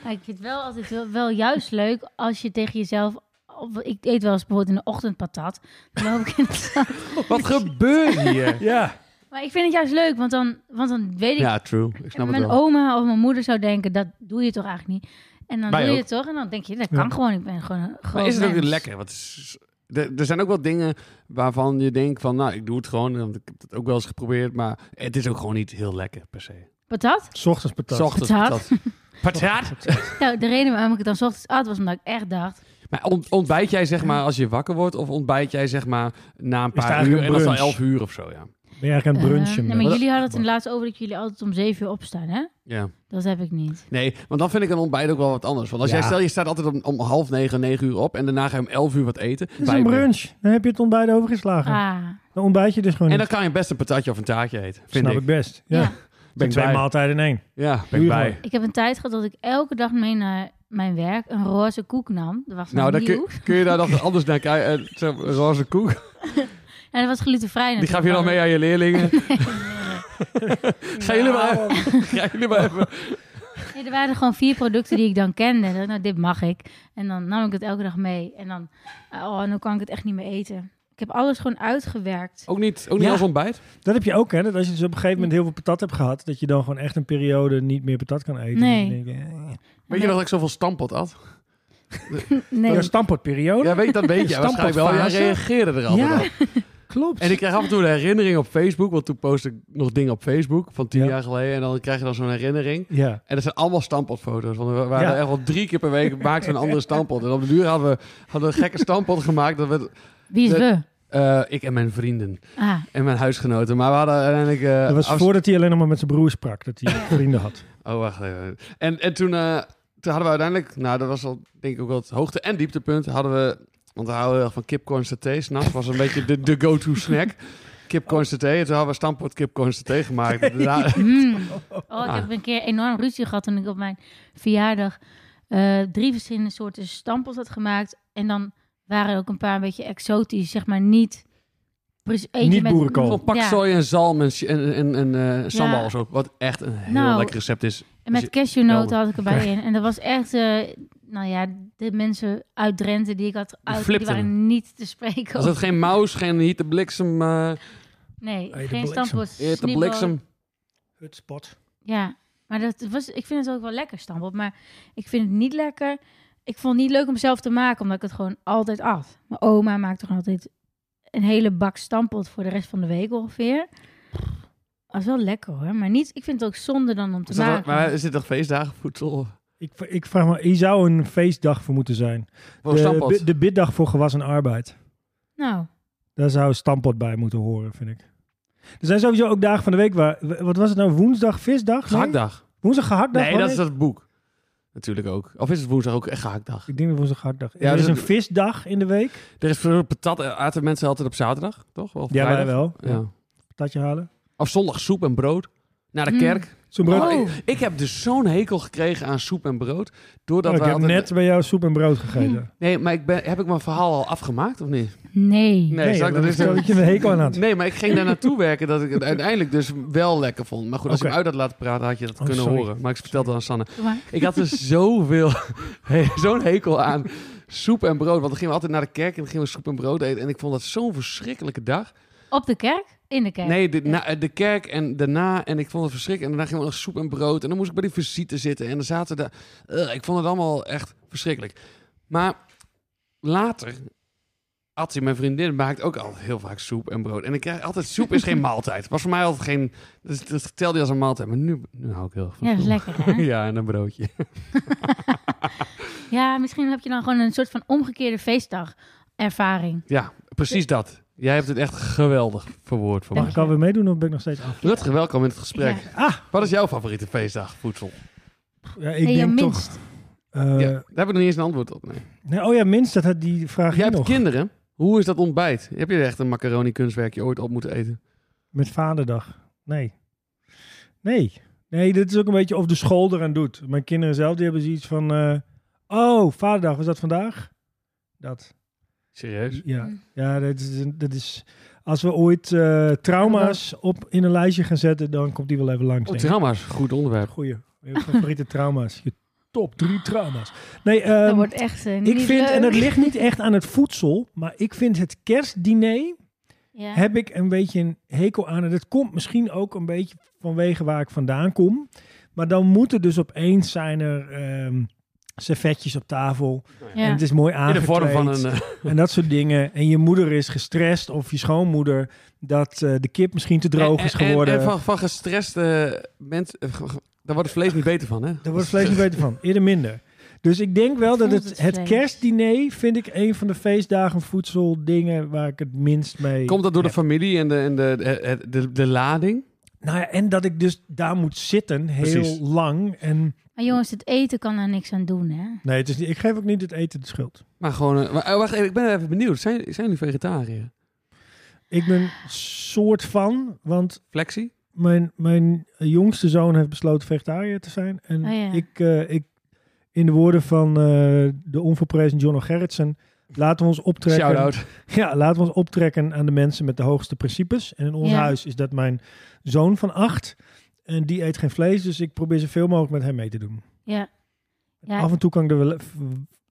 S4: Maar ik vind het wel altijd wel, wel juist leuk als je tegen jezelf... of Ik eet wel eens bijvoorbeeld in de ochtend patat. Dan loop ik in de stad.
S3: Wat gebeurt hier?
S1: Ja,
S4: Maar ik vind het juist leuk, want dan, want dan weet ik
S3: Ja, true. Ik snap het
S4: mijn
S3: wel.
S4: oma of mijn moeder zou denken, dat doe je toch eigenlijk niet. En dan
S3: Wij
S4: doe je
S3: ook.
S4: het toch en dan denk je, dat
S1: Ja.
S4: kan gewoon, ik ben gewoon een groot
S3: Maar is het ook
S4: mens.
S3: weer lekker? Want het is- er, er zijn ook wel dingen waarvan je denkt van, nou, ik doe het gewoon. Want ik heb het ook wel eens geprobeerd, maar het is ook gewoon niet heel lekker per se.
S4: Patat?
S1: s ochtends patat.
S3: S ochtends
S4: Patat.
S3: patat. Patat.
S4: Nou, de reden waarom ik het dan 's ochtends at was, omdat ik echt dacht...
S3: Maar ont- ontbijt jij zeg maar als je wakker wordt of ontbijt jij zeg maar na een
S1: het
S3: paar uur?
S1: eigenlijk
S3: En dat is al
S1: brunch?
S3: elf uur of zo, ja.
S1: Ben je eigenlijk aan het
S4: eh,
S1: brunchen?
S4: nee, maar jullie hadden het in de laatste over dat jullie altijd om zeven uur opstaan, hè?
S3: Ja,
S4: Dat heb ik niet.
S3: nee, want dan vind ik een ontbijt ook wel wat anders. Want als
S1: Ja.
S3: jij stel, je staat altijd om, om half negen, negen uur op en daarna ga je om elf uur wat eten.
S1: het is
S3: bij-
S1: een brunch. Dan heb je het ontbijt overgeslagen.
S4: Ah,
S1: Dan ontbijt je dus gewoon
S3: En dan
S1: niet.
S3: kan je best een patatje of een taartje eten, vind
S1: Snap
S3: ik.
S1: ik best.
S4: ja.
S1: Ja. Ben twee
S3: bij.
S1: maaltijden in één.
S3: Ja,
S1: Doe
S3: ben ik
S1: je
S3: bij.
S1: gewoon.
S4: Ik heb een tijd gehad dat ik elke dag mee naar mijn werk een roze koek nam. Dat was
S3: Nou,
S4: nog
S3: dan
S4: nieuw.
S3: kun, kun je daar nog anders naar kijken. Eh, zo'n Roze koek.
S4: En dat was glutenvrij
S3: Die gaf je dan mee aan je leerlingen. Gaan jullie
S1: Nou.
S3: maar even. Gaan jullie maar even.
S4: Nee, er waren er gewoon vier producten die ik dan kende. Ik dacht, Nou, dit mag ik. En dan nam ik het elke dag mee. En dan, oh, nu kan ik het echt niet meer eten. Ik heb alles gewoon uitgewerkt.
S3: Ook niet, ook niet
S1: Ja.
S3: als ontbijt?
S1: Dat heb je ook, hè? Dat als je dus op een gegeven moment heel veel patat hebt gehad, dat je dan gewoon echt een periode niet meer patat kan eten.
S4: Nee.
S1: Dan denk je, eh.
S3: Weet je nog dat ik zoveel stampot had?
S4: Nee,
S1: Oh, Een stampotperiode?
S3: Ja, weet je, dat weet je waarschijnlijk wel. Jij
S1: Stampotfase.
S3: reageerde er altijd op.
S1: klopt.
S3: En ik kreeg af en toe een herinnering op Facebook. Want toen postte ik nog dingen op Facebook van tien
S1: Ja.
S3: jaar geleden. En dan krijg je dan zo'n herinnering.
S1: Ja.
S3: En dat zijn allemaal stampotfoto's. Want we waren
S1: Ja.
S3: er echt wel drie keer per week maakten we een andere stampot. En op de duur hadden we, hadden we een gekke stampot gemaakt. Dat werd,
S4: wie is
S3: dat-
S4: we?
S3: eh, ik en mijn vrienden
S4: Ah,
S3: en mijn huisgenoten. Maar we hadden uiteindelijk... eh,
S1: Dat was
S3: afs-
S1: voordat hij alleen nog maar met zijn broer sprak, dat hij vrienden had.
S3: Oh, wacht even. En, en toen, eh, toen hadden we uiteindelijk, nou, dat was al denk ik ook wel het hoogte- en dieptepunt, hadden we, want we houden heel erg van kipcorn saté, s'nachts was een beetje de, de go-to snack. Kipcorn saté, en toen hadden we stampot kipcorn saté gemaakt. Daarna-
S4: mm. Oh, ik
S3: Ah.
S4: heb een keer enorm ruzie gehad toen ik op mijn verjaardag eh, drie verschillende soorten stampels had gemaakt. En dan waren er ook een paar een beetje exotisch, zeg maar niet... precies- eentje
S1: Niet
S4: met-
S1: boerenkool.
S3: Gewoon pak
S4: Ja.
S3: sooi en zalm en, si- en, en, en eh, sambal
S4: Ja.
S3: of zo. Wat echt een heel
S4: Nou.
S3: lekker recept is.
S4: En
S3: Dus
S4: met
S3: Helder.
S4: cashewnoten had ik erbij in. En dat was echt, eh, nou ja, de mensen uit Drenthe die ik had uit, die
S3: flipten
S4: waren niet te spreken.
S3: Was het geen maus, geen hiet de bliksem, eh
S4: Nee,
S1: Hey, de
S4: geen
S1: bliksem.
S4: stampot.
S3: Heet de
S4: snibbo.
S3: bliksem.
S1: Het spot.
S4: Ja, maar dat was, ik vind het ook wel lekker stampot. Maar ik vind het niet lekker. Ik vond het niet leuk om zelf te maken, omdat ik het gewoon altijd at. Mijn oma maakte gewoon altijd een hele bak stampot voor de rest van de week ongeveer. Dat is wel lekker hoor, maar niet, ik vind het ook zonde dan om te
S3: Is dat-
S4: maken.
S3: maar is dit toch feestdagenvoedsel?
S1: Ik, ik vraag me, hier zou een feestdag voor moeten zijn.
S3: Voor
S1: de,
S3: stampot?
S1: bi- de biddag voor gewas en arbeid.
S4: Nou,
S1: Daar zou stampot bij moeten horen, vind ik. Er zijn sowieso ook dagen van de week waar... Wat was het nou? Woensdag visdag? Nee?
S3: Gehaktdag?
S1: Woensdag gehaktdag? Oh,
S3: Nee,
S1: wanneer?
S3: dat is dat boek. natuurlijk ook. Of is het woensdag ook echt gehaktdag?
S1: Ik denk dat woensdag harddag.
S3: Ja,
S1: er is
S3: dus-
S1: een visdag in de week.
S3: Er is voor patat, eh, aten mensen altijd op zaterdag, toch? Of
S1: Ja, wij
S3: vrijdag?
S1: wel.
S3: Ja.
S1: Patatje halen.
S3: Of zondag soep en brood. Naar de
S4: Mm.
S3: kerk.
S1: Zo'n brood.
S3: Oh, ik, ik heb dus zo'n hekel gekregen aan soep en brood. Doordat
S1: Oh, ik
S3: wij
S1: heb
S3: altijd-
S1: net bij jou soep en brood gegeten.
S3: Nee, maar ik ben, heb ik mijn verhaal al afgemaakt of niet?
S4: Nee.
S3: Nee, zal ik
S1: dat
S3: dat
S1: is
S3: eens
S1: wel
S3: doen?
S1: dat je een hekel aan had.
S3: Nee, maar ik ging daar naartoe werken dat ik het uiteindelijk dus wel lekker vond. Maar goed, als ik
S1: Oké.
S3: hem uit had laten praten, had je dat
S1: Oh,
S3: kunnen
S1: sorry.
S3: horen. Maar ik vertelde het aan Sanne.
S4: Doe maar.
S3: Ik had er zoveel, he- zo'n hekel aan soep en brood. Want dan gingen we altijd naar de kerk en dan gingen we soep en brood eten. En ik vond dat zo'n verschrikkelijke dag.
S4: Op de kerk? In de kerk?
S3: Nee, de, na- de kerk en daarna. En ik vond het verschrikkelijk. En daarna gingen we nog soep en brood. En dan moest ik bij die visite zitten. En dan zaten we daar. Ugh, ik vond het allemaal echt verschrikkelijk. Maar later... Attie, mijn vriendin, maakt ook altijd heel vaak soep en brood. En ik krijg altijd... Soep is geen maaltijd. Was voor mij altijd geen... Dus dat telde je als een maaltijd. Maar nu, nu hou ik heel erg van
S4: Ja, dat is
S3: soep.
S4: lekker hè?
S3: Ja, en een broodje.
S4: Ja, misschien heb je dan gewoon een soort van omgekeerde feestdag ervaring.
S3: Ja, precies dat. Jij hebt het echt geweldig verwoord voor
S1: Mag
S3: mij.
S1: ik alweer meedoen of ben ik nog steeds af?
S3: Rutger, welkom in het gesprek.
S1: Ah.
S3: Wat is jouw favoriete feestdag, voedsel?
S1: Eh, Ja, ik
S4: en je
S1: denk toch...
S4: minst.
S1: eh,
S3: ja, daar hebben we nog niet eens een antwoord op. Nee.
S1: nee, oh ja, minst, dat had die vraag
S3: Jij
S1: hier
S3: hebt
S1: nog.
S3: kinderen. Hoe is dat ontbijt? Heb je er echt een macaroni kunstwerkje ooit op moeten eten?
S1: Met vaderdag. Nee. Nee. Nee, dit is ook een beetje of de school eraan doet. Mijn kinderen zelf, die hebben zoiets van... eh, oh, vaderdag, was dat vandaag? Dat.
S3: Serieus?
S1: Ja,
S4: Mm.
S1: ja dat, is, dat is... Als we ooit eh, trauma's op, in een lijstje gaan zetten, dan komt die wel even langs.
S3: Oh,
S1: denk ik.
S3: trauma's. Goed onderwerp.
S1: Goeie. Je favoriete trauma's. Je top drie trauma's. Nee, ehm,
S4: dat wordt echt eh, niet
S1: ik vind, en
S4: leuk.
S1: het ligt niet echt aan het voedsel, maar ik vind het kerstdiner
S4: Ja.
S1: heb ik een beetje een hekel aan. En dat komt misschien ook een beetje vanwege waar ik vandaan kom. Maar dan moet er dus opeens zijn er ehm, servetjes op tafel.
S4: Ja.
S1: En het is mooi
S3: In
S1: aangekleed.
S3: de vorm van een... eh,
S1: En dat soort dingen. En je moeder is gestrest of je schoonmoeder dat eh, de kip misschien te droog is
S3: en- en-
S1: geworden.
S3: En, van, van gestreste mensen... eh, ge- ge- Daar wordt het vlees niet beter van, hè?
S1: Daar wordt het vlees niet beter van. Eerder minder. Dus ik denk wel
S4: Ik
S1: dat
S4: vond
S1: het,
S4: het
S1: het
S4: vlees.
S1: kerstdiner vind ik een van de feestdagen voedseldingen waar ik het minst mee...
S3: Komt dat door de familie en de, en de, de, de, de, lading?
S1: Nou ja, en dat ik dus daar moet zitten heel
S3: Precies.
S1: lang. En
S4: Maar jongens, het eten kan daar niks aan doen hè?
S1: nee, het is niet, ik geef ook niet het eten de schuld.
S3: Maar gewoon... eh, maar, eh, wacht even, ik ben even benieuwd. Zijn, zijn jullie vegetariër?
S1: Ik ben soort van, want
S3: Flexie?
S1: mijn, mijn jongste zoon heeft besloten vegetariër te zijn. En
S4: Oh ja.
S1: ik, eh, ik, in de woorden van eh, de onverprezen John O'Gerritsen, laten we ons optrekken.
S3: Shout-out.
S1: Ja, laten we ons optrekken aan de mensen met de hoogste principes. En in ons
S4: Ja.
S1: huis is dat mijn zoon van acht. En die eet geen vlees, dus ik probeer zoveel mogelijk met hem mee te doen.
S4: Ja. Ja.
S1: Af en toe kan ik de, wel-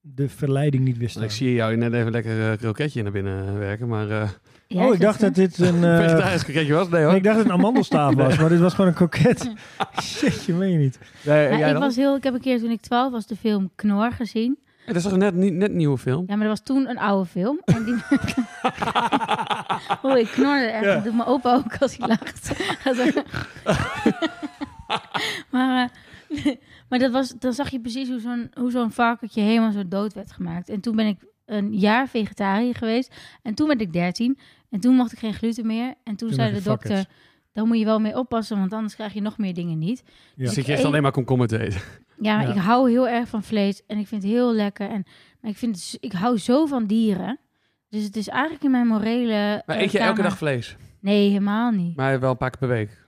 S1: de verleiding niet
S3: Want
S1: wisselen.
S3: Ik zie jou net even lekker eh, kroketje naar binnen werken, maar... eh
S4: Ja,
S1: oh,
S4: is
S1: ik dacht dat
S4: zo?
S1: dit een... eh,
S3: vegetarisch kroketje was? Nee, hoor.
S1: nee, ik dacht dat het een amandelstaaf was, maar dit was gewoon een kroket. Shit, je meen je niet.
S3: Nee, en
S4: Nou,
S3: jij
S4: ik,
S3: dan?
S4: was heel, ik heb een keer toen ik 12 was de film Knor gezien.
S3: Eh, Dat is toch net, niet- net een nieuwe film?
S4: Ja, maar dat was toen een oude film. En die... oh, ik knorde echt.
S1: Ja.
S4: Dat doet mijn opa ook als hij lacht. Hij zo- maar, eh, maar dat was, dan zag je precies hoe zo'n, hoe zo'n varkentje helemaal zo dood werd gemaakt. En toen ben ik een jaar vegetariër geweest. En toen werd ik 13. En toen mocht ik geen gluten meer. En toen,
S1: Toen
S4: zei
S1: dacht
S4: de
S1: je, fuck
S4: dokter...
S1: it.
S4: Dan moet je wel mee oppassen, want anders krijg je nog meer dingen niet.
S1: Ja.
S3: Dus Zit je echt
S4: Eén-
S3: alleen maar komkommer te eten?
S4: Ja, maar
S1: Ja.
S4: ik hou heel erg van vlees en ik vind het heel lekker. En maar ik, vind het, z- ik hou zo van dieren. Dus het is eigenlijk in mijn morele.
S3: Maar
S4: eh,
S3: eet je elke
S4: kamer-
S3: dag vlees?
S4: Nee, helemaal niet.
S3: Maar wel een paar keer per week.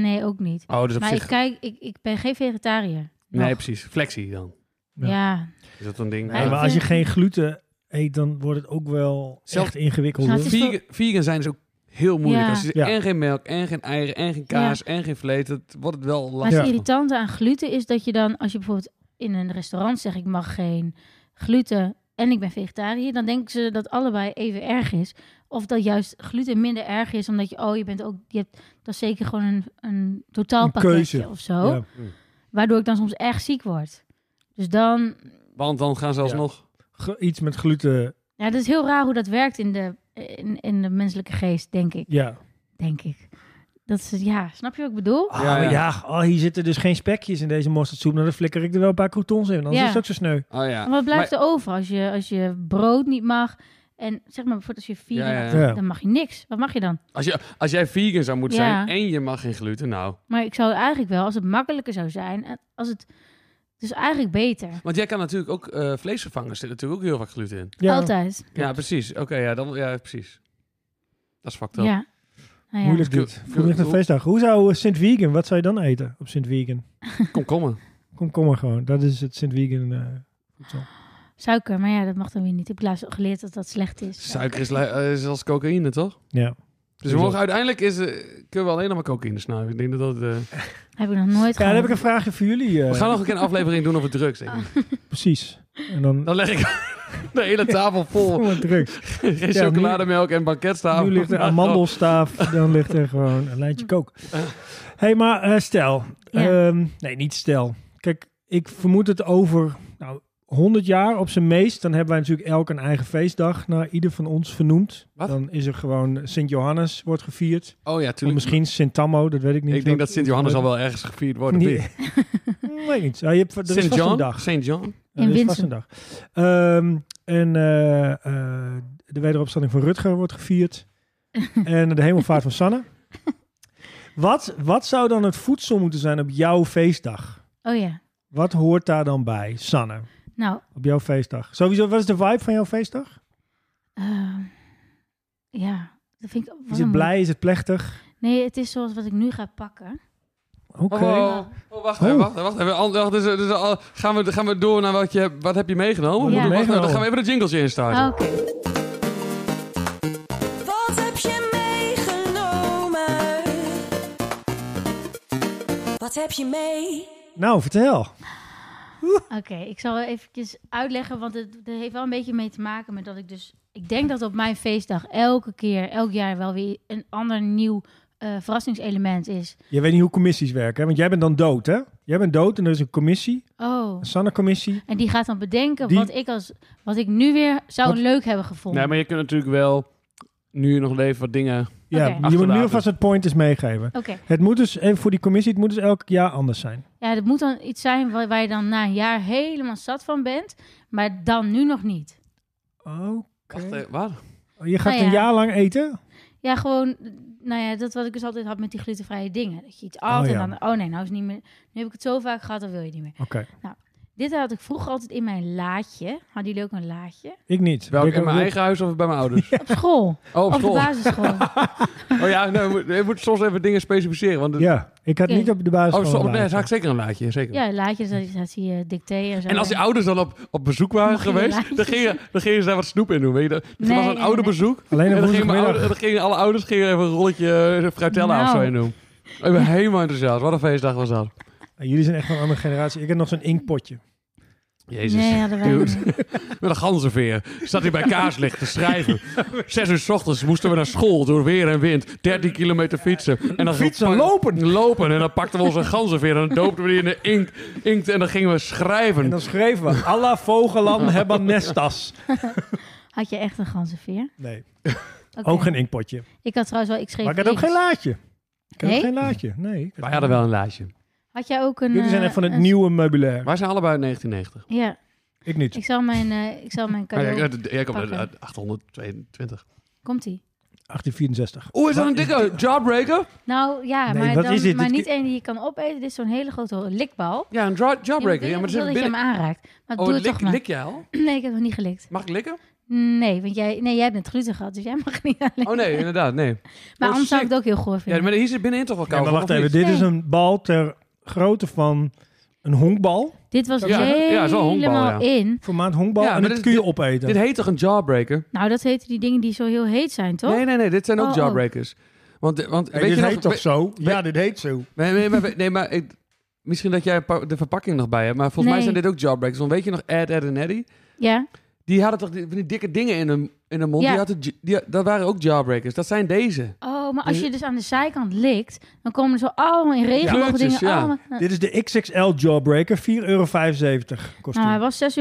S4: Nee, ook niet.
S3: Oh, dus op
S4: Maar
S3: zich...
S4: ik kijk, ik, ik ben geen vegetariër.
S3: Nee,
S4: Nog.
S3: precies. Flexie dan.
S1: Ja.
S4: Ja.
S3: Is dat een ding?
S4: Nee,
S1: Ja,
S3: Ja.
S1: maar als je geen gluten eet, dan wordt het ook wel
S3: Zelf-
S1: echt ingewikkeld.
S4: Nou,
S1: hoor.
S4: het is
S3: vegan, vegan zijn is ook heel moeilijk.
S4: Ja.
S3: Als je
S1: Ja.
S3: en geen melk, en geen eieren, en geen kaas, en geen vlees, dat wordt het wel
S4: Maar het
S3: lastig.
S4: irritante aan gluten is dat je dan, als je bijvoorbeeld in een restaurant zegt: ik mag geen gluten en ik ben vegetariër, dan denken ze dat allebei even erg is. Of dat juist gluten minder erg is, omdat je, oh, je bent ook, je hebt, dat is zeker gewoon een, een totaalpakketje
S1: keuze.
S4: of zo.
S1: Ja.
S4: Waardoor ik dan soms echt ziek word. Dus dan...
S3: Want dan gaan ze alsnog...
S1: Ge- Iets met gluten,
S4: Ja, dat is heel raar hoe dat werkt in de, in, in de menselijke geest, denk ik.
S1: ja.
S4: Denk ik. Dat is, ja, snap je wat ik bedoel?
S1: Ah,
S3: Ja,
S1: maar
S3: ja.
S1: ja, oh, hier zitten dus geen spekjes in deze mosterdsoep. Nou, dan flikker ik er wel een paar croutons in. Anders
S4: Ja.
S1: is het ook zo sneu.
S3: Oh ja.
S4: En wat blijft er over als je, als je brood niet mag? En zeg maar bijvoorbeeld als je vier...
S3: Ja, ja, ja.
S1: Ja.
S4: Dan mag je niks. Wat mag je dan?
S3: Als, je, als jij vegan zou moeten
S4: Ja.
S3: zijn en je mag geen gluten, nou...
S4: Maar ik zou eigenlijk wel, eh, als het makkelijker zou zijn... en Als het Dus eigenlijk beter.
S3: Want jij kan natuurlijk ook eh, vleesvervangers zitten natuurlijk ook heel vaak gluten in.
S1: Ja,
S4: Altijd.
S3: Ja, precies. Oké, ja, dan, ja, precies. Dat is fucked up.
S4: Ja. Nou ja.
S1: Moeilijk
S3: Doe-
S1: dit.
S3: doe-
S1: Voor echt een
S3: doe-
S1: feestdag. Hoe zou eh, Sint Wiegen, wat zou je dan eten op Sint Wiegen?
S3: Kom, kom maar.
S1: Kom, kom maar gewoon. Dat is het Sint Wiegen. eh, voedsel.
S4: Suiker, maar ja, dat mag dan weer niet. Ik heb laatst geleerd dat dat slecht is.
S3: Suiker is, li- eh, is als cocaïne, toch?
S1: ja.
S3: Dus we mogen, uiteindelijk is, eh, kunnen we alleen nog maar cocaïne snuiven. Ik denk dat dat... eh,
S4: Heb ik nog nooit
S1: ja, dan heb ik
S4: gehad.
S1: een vraagje voor jullie. eh,
S3: we gaan nog een keer een aflevering doen over drugs. denk ik.
S1: Precies. En dan...
S3: Dan leg ik de hele tafel vol.
S1: Oh, drugs.
S3: Geen
S1: Ja,
S3: chocolademelk en banketstaaf.
S1: Nu ligt er
S3: Maar
S1: amandelstaaf, dan ligt er gewoon een lijntje kook. hey, maar eh, stel.
S4: Ja.
S1: ehm, nee, niet stel. Kijk, ik vermoed het over nou, 100 jaar op zijn meest. Dan hebben wij natuurlijk elk een eigen feestdag naar ieder van ons vernoemd.
S3: Wat?
S1: Dan is er gewoon Sint Johannes wordt gevierd.
S3: gewoon- Oh ja,
S1: Of
S3: tuurlijk.
S1: misschien Sint Tammo, dat weet ik niet.
S3: ik denk dat Sint-Johannes al wel ergens gevierd wordt.
S1: Nee. weet niet. Ja, je hebt, er is vast een
S3: Sint-John?
S1: dag.
S3: Sint-John?
S1: Ja, er is vast
S4: Winsum.
S1: een dag. Ehm, en eh, eh, de wederopstanding van Rutger wordt gevierd. en de hemelvaart van Sanne. Wat, wat zou dan het voedsel moeten zijn op jouw feestdag?
S4: Oh ja.
S1: Wat hoort daar dan bij, Sanne?
S4: Nou,
S1: Op jouw feestdag. Sowieso, wat is de vibe van jouw feestdag?
S4: ehm, ja. Dat vind ik, wat
S1: Is
S4: een-
S1: het blij? Is het plechtig?
S4: Nee, het is zoals wat ik nu ga pakken.
S1: Oké.
S3: Oh, oh, wacht even, wacht even, wacht even. Al- wacht, dus, dus, al- gaan, we, gaan we door naar wat, je, wat heb je meegenomen?
S4: Ja.
S3: Wacht, nou,
S1: Meegenomen. Oh.
S3: dan gaan we even de jinglesje instarten.
S4: Oké.
S2: Wat heb je meegenomen? Wat heb je mee?
S1: Nou, vertel.
S4: Oké, ik zal eventjes uitleggen, want het, het heeft wel een beetje mee te maken met dat ik dus... Ik denk dat op mijn feestdag elke keer, elk jaar wel weer een ander nieuw eh, verrassingselement is.
S1: Je weet niet hoe commissies werken, hè? want jij bent dan dood, hè? Jij bent dood en er is een commissie,
S4: Oh,
S1: een Sanne-commissie.
S4: en die gaat dan bedenken
S1: Die-
S4: wat, ik als, wat ik nu weer zou
S1: Wat-
S4: leuk hebben gevonden.
S3: Nee, maar je kunt natuurlijk wel nu je nog leven wat dingen...
S1: Ja, je
S4: Oké.
S1: moet nu
S3: Achterlaten.
S1: alvast het point is meegeven.
S4: Oké,
S1: Het moet dus, even voor die commissie, het moet dus elk jaar anders zijn.
S4: ja, dat moet dan iets zijn waar, waar je dan na een jaar helemaal zat van bent, maar dan nu nog niet.
S1: Oké.
S3: Wacht, eh, wat?
S1: Oh, Je gaat
S4: Nou ja.
S1: een jaar lang eten?
S4: Ja, gewoon, nou ja, dat wat ik dus altijd had met die glutenvrije dingen. Dat je iets at
S1: Oh,
S4: en
S1: ja.
S4: dan, oh nee, nou is het niet meer, nu heb ik het zo vaak gehad, dan wil je het niet meer.
S1: Oké.
S4: Dit had ik vroeger altijd in mijn laadje. Hadden jullie ook een laadje?
S1: Ik niet.
S3: Welk,
S1: Ik
S3: in
S1: ook
S3: mijn
S1: niet.
S3: eigen huis of bij mijn ouders?
S4: Op school.
S3: Oh, op
S4: op de
S3: school.
S4: basisschool.
S3: Oh ja, nee, je, moet, je moet soms even dingen specificeren. Want het-
S1: Ja, ik had
S4: Ja.
S1: niet op de basis
S3: oh,
S1: van
S3: zo,
S1: een
S3: nee, daar
S1: laadje.
S3: had ik zeker een laadje. Zeker.
S4: ja, laadjes, dat, dat zie je dicteren en zo.
S3: En als die ouders dan op, op bezoek waren
S4: Mocht je
S3: geweest,
S4: laadjes-
S3: dan ging, je, dan ging je ze daar wat snoep in doen. Weet je? dat- Het
S4: Nee,
S3: was een
S4: nee,
S3: ouderbezoek.
S1: Alleen
S3: En
S1: op
S3: dan gingen, mijn ouder-
S1: woensdagmiddag.
S3: dan gingen alle ouders gingen even een rolletje eh, fruitella of zo
S4: Nou.
S3: in doen. Ik ben helemaal enthousiast. Wat een feestdag was dat.
S1: Ah, Jullie zijn echt van een andere generatie. Ik heb nog zo'n inkpotje.
S3: Jezus.
S4: Nee, hadden wij
S3: Dude.
S4: niet.
S3: Met een ganzenveer. Zat hij bij kaarslicht te schrijven. Zes uur s ochtends moesten we naar school door weer en wind. 13 kilometer fietsen. En dan
S1: Fietsen,
S3: pak-
S1: lopen!
S3: Lopen. En dan pakten we onze ganzenveer en dan doopten we die in de inkt. inkt en dan gingen we
S1: En
S3: schrijven.
S1: dan schreven we, alla vogelan hebben nestas.
S4: Had je echt een ganzenveer?
S1: Nee,
S4: Oké.
S1: ook geen inkpotje.
S4: Ik had trouwens wel, ik schreef
S1: Maar ik had ook
S4: iets.
S1: geen laadje. Ik had ook
S4: Nee?
S1: geen laadje, nee. ik had-
S3: Wij hadden wel een lijstje.
S4: Had jij ook een...
S1: Jullie zijn
S4: eh,
S1: echt van het
S4: een-
S1: nieuwe meubilair.
S3: Wij zijn allebei uit 1990.
S4: Ja,
S1: Ik niet.
S4: ik zal mijn, eh, ik zal mijn
S1: Oh
S3: Maar
S4: cadeau...
S3: jij- jij komt uit-
S4: pakken.
S3: uit 822.
S4: Komt-ie.
S1: 1864.
S3: Oeh, is dat een dikke jawbreaker?
S4: Nou ja,
S1: Nee,
S4: maar,
S1: wat
S4: dan,
S1: is dit?
S4: maar
S1: Dit-
S4: niet één die je kan opeten. Dit is zo'n hele grote likbal.
S3: Ja, een dra-
S4: Ja, maar ik
S3: jawbreaker.
S4: wil
S3: Ja, maar dat
S4: dat
S3: is
S4: je hem
S3: binnen...
S4: aanraakt. Maar
S3: Oh,
S4: doe het
S3: lik,
S4: toch maar.
S3: lik jij al?
S4: Nee, ik heb nog niet gelikt.
S3: Mag ik likken?
S4: Nee, want jij, nee, jij hebt net gluten gehad, dus jij mag niet aan likken.
S3: Oh nee, inderdaad, nee.
S4: maar anders zou ik
S3: sick.
S4: het ook heel goor vinden.
S3: Oh, Ja, maar hier zit binnenin toch wel
S1: Ja,
S3: koud.
S1: maar wacht
S3: of niet?
S1: even. Dit is
S4: Nee.
S1: een bal ter grootte van een honkbal.
S4: Dit was
S3: Ja, ja, zo'n
S4: helemaal
S3: honkbal, ja.
S4: in.
S1: Formaat honkbal.
S3: Ja,
S1: en
S3: maar
S1: dat
S3: dit-
S1: kun je opeten.
S3: Dit heet toch een jawbreaker?
S4: Nou, dat heten die dingen die zo heel heet zijn, toch?
S3: Nee, nee, nee. Dit zijn ook
S4: Oh, oh.
S3: jawbreakers. Want, want
S1: Hey,
S3: weet
S1: dit
S3: je
S1: heet
S3: nog,
S1: toch
S3: we-
S1: zo?
S3: Ja,
S1: dit heet zo.
S3: Nee, nee, maar, nee, maar ik- misschien dat jij pa- de verpakking nog bij hebt. Maar volgens mij
S4: Nee.
S3: zijn dit ook jawbreakers. Want weet je nog Ed, Ed en Eddy?
S4: Ja,
S3: Die hadden toch die, van die dikke dingen in hun, in hun mond?
S4: Ja.
S3: Die hadden, j- die, dat waren ook jawbreakers. Dat zijn deze.
S4: oh, maar als
S3: Dus-
S4: je dus aan de zijkant likt, dan komen er zo allemaal in regenbogen
S3: Kleurtjes,
S4: dingen.
S3: ja.
S4: allemaal- nou,
S1: Dit is de XXL Jawbreaker, 4,75 euro kost
S4: nou, hij
S1: hij.
S4: was 6,70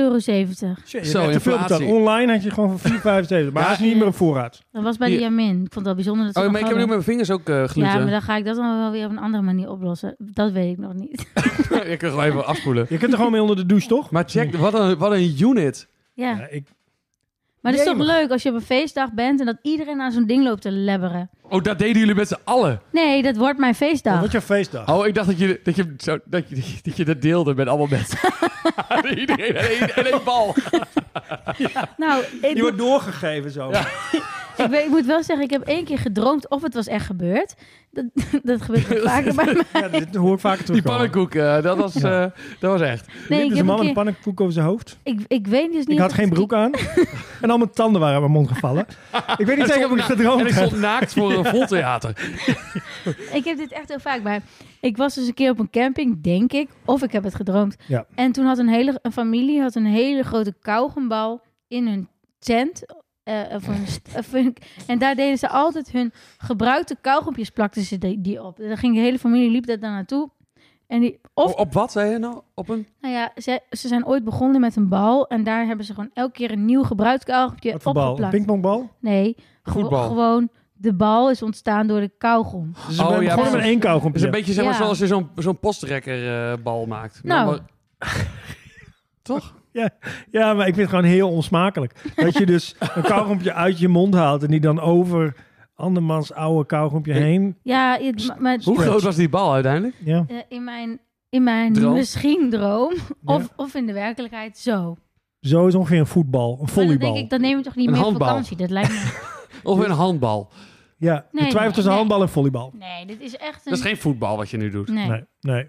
S4: euro. Dat
S1: Shit, je
S3: Zo,
S1: hebt te veel
S3: inflatie.
S1: betaald. Online had je gewoon voor 4,75. Maar hij is niet meer op voorraad.
S4: was bij
S3: Die-
S4: de Jamin. Ik vond dat bijzonder dat ze
S3: Oh,
S4: dat
S3: maar ik heb nu
S4: hadden.
S3: met mijn vingers ook eh gluten.
S4: Ja, maar dan ga ik dat dan wel weer op een andere manier oplossen. Dat weet ik nog niet.
S3: ik kan gewoon even afspoelen.
S1: Je kunt er gewoon mee onder de douche, toch?
S3: Maar check, wat een, wat een unit.
S4: Ja,
S1: Ja, ik,
S4: Maar het is toch
S1: Jemig.
S4: leuk als je op een feestdag bent en dat iedereen aan zo'n ding loopt te lebberen.
S3: Oh, dat deden jullie met z'n allen.
S4: Nee, dat wordt mijn feestdag.
S1: Wat is jouw feestdag?
S3: Oh, ik dacht dat je dat, je, zo, dat, je, dat, je dat deelde met allemaal mensen. Iedereen en één- en één bal.
S4: Nou, ik,
S1: Je wordt doorgegeven zo.
S4: ik, weet- ik moet wel zeggen, ik heb één keer gedroomd of het was echt gebeurd. Dat, dat gebeurt wel vaker bij mij.
S1: Ja, dit hoor ik vaak
S3: Die
S1: terug.
S3: pannenkoek, eh, dat, was,
S1: Ja.
S3: eh, dat was echt.
S4: Nee, ik,
S1: dus een man
S4: heb een
S1: met een
S4: keer,
S1: pannenkoek over zijn hoofd.
S4: ik, ik weet dus niet...
S1: Ik had
S4: of-
S1: geen broek aan. en al mijn tanden waren uit mijn mond gevallen. Ik weet niet
S3: En
S1: zeker of ik
S3: stond na- En ik
S1: gedroomd heb.
S3: stond naakt voor een vol theater.
S4: Ik heb dit echt heel vaak bij. Ik was dus een keer op een camping, denk ik. Of ik heb het gedroomd.
S1: Ja.
S4: En toen had een hele een familie had een hele grote kauwgombal in hun tent. eh, of hun st- of hun- en daar deden ze altijd hun gebruikte kauwgompjes plakten ze die, die op. En dan ging de hele familie liep daar dan naartoe. En die, of,
S3: Op, op wat zei je nou? Op een...
S4: nou ja, ze, ze zijn ooit begonnen met een bal. En daar hebben ze gewoon elke keer een nieuw gebruikt kauwgompje
S1: Wat voor bal? Een
S4: opgeplakt.
S1: pingpongbal?
S4: Nee, gewo-
S3: Voetbal.
S4: gewoon de bal is ontstaan door de kauwgom.
S1: Dus
S3: Oh,
S1: oh,
S3: ja,
S1: ja, gewoon met
S3: precies.
S1: één
S3: Dus een
S1: kauwgompje.
S3: beetje zeg maar
S4: Ja.
S3: zoals je zo'n zo'n postrekkerbal maakt. Maar-
S4: Nou.
S3: maar- Toch?
S1: Ja, maar ik vind het gewoon heel onsmakelijk. Dat je dus een kauwgompje uit je mond haalt en die dan over andermans oude kauwgompje
S3: Nee.
S1: heen.
S4: Ja, het- maar- maar,
S3: Hoe
S1: Stretch.
S3: groot was die bal uiteindelijk?
S1: Ja.
S4: Eh, in mijn, in mijn
S3: Droom?
S4: misschien droom.
S1: Ja.
S4: Of, of in de werkelijkheid zo.
S1: Zo is ongeveer een voetbal, een
S4: Maar dan
S1: volleybal.
S4: denk ik, dan neem je toch niet
S3: Een
S4: meer op
S3: handbal.
S4: vakantie. Dat lijkt me.
S3: Of een handbal?
S1: Ja,
S4: Nee,
S1: ik twijfel
S4: nee,
S1: tussen
S4: nee.
S1: handbal en volleybal.
S4: Nee, dit is echt een.
S3: Dat is geen voetbal wat je nu doet.
S4: nee.
S1: Nee, nee.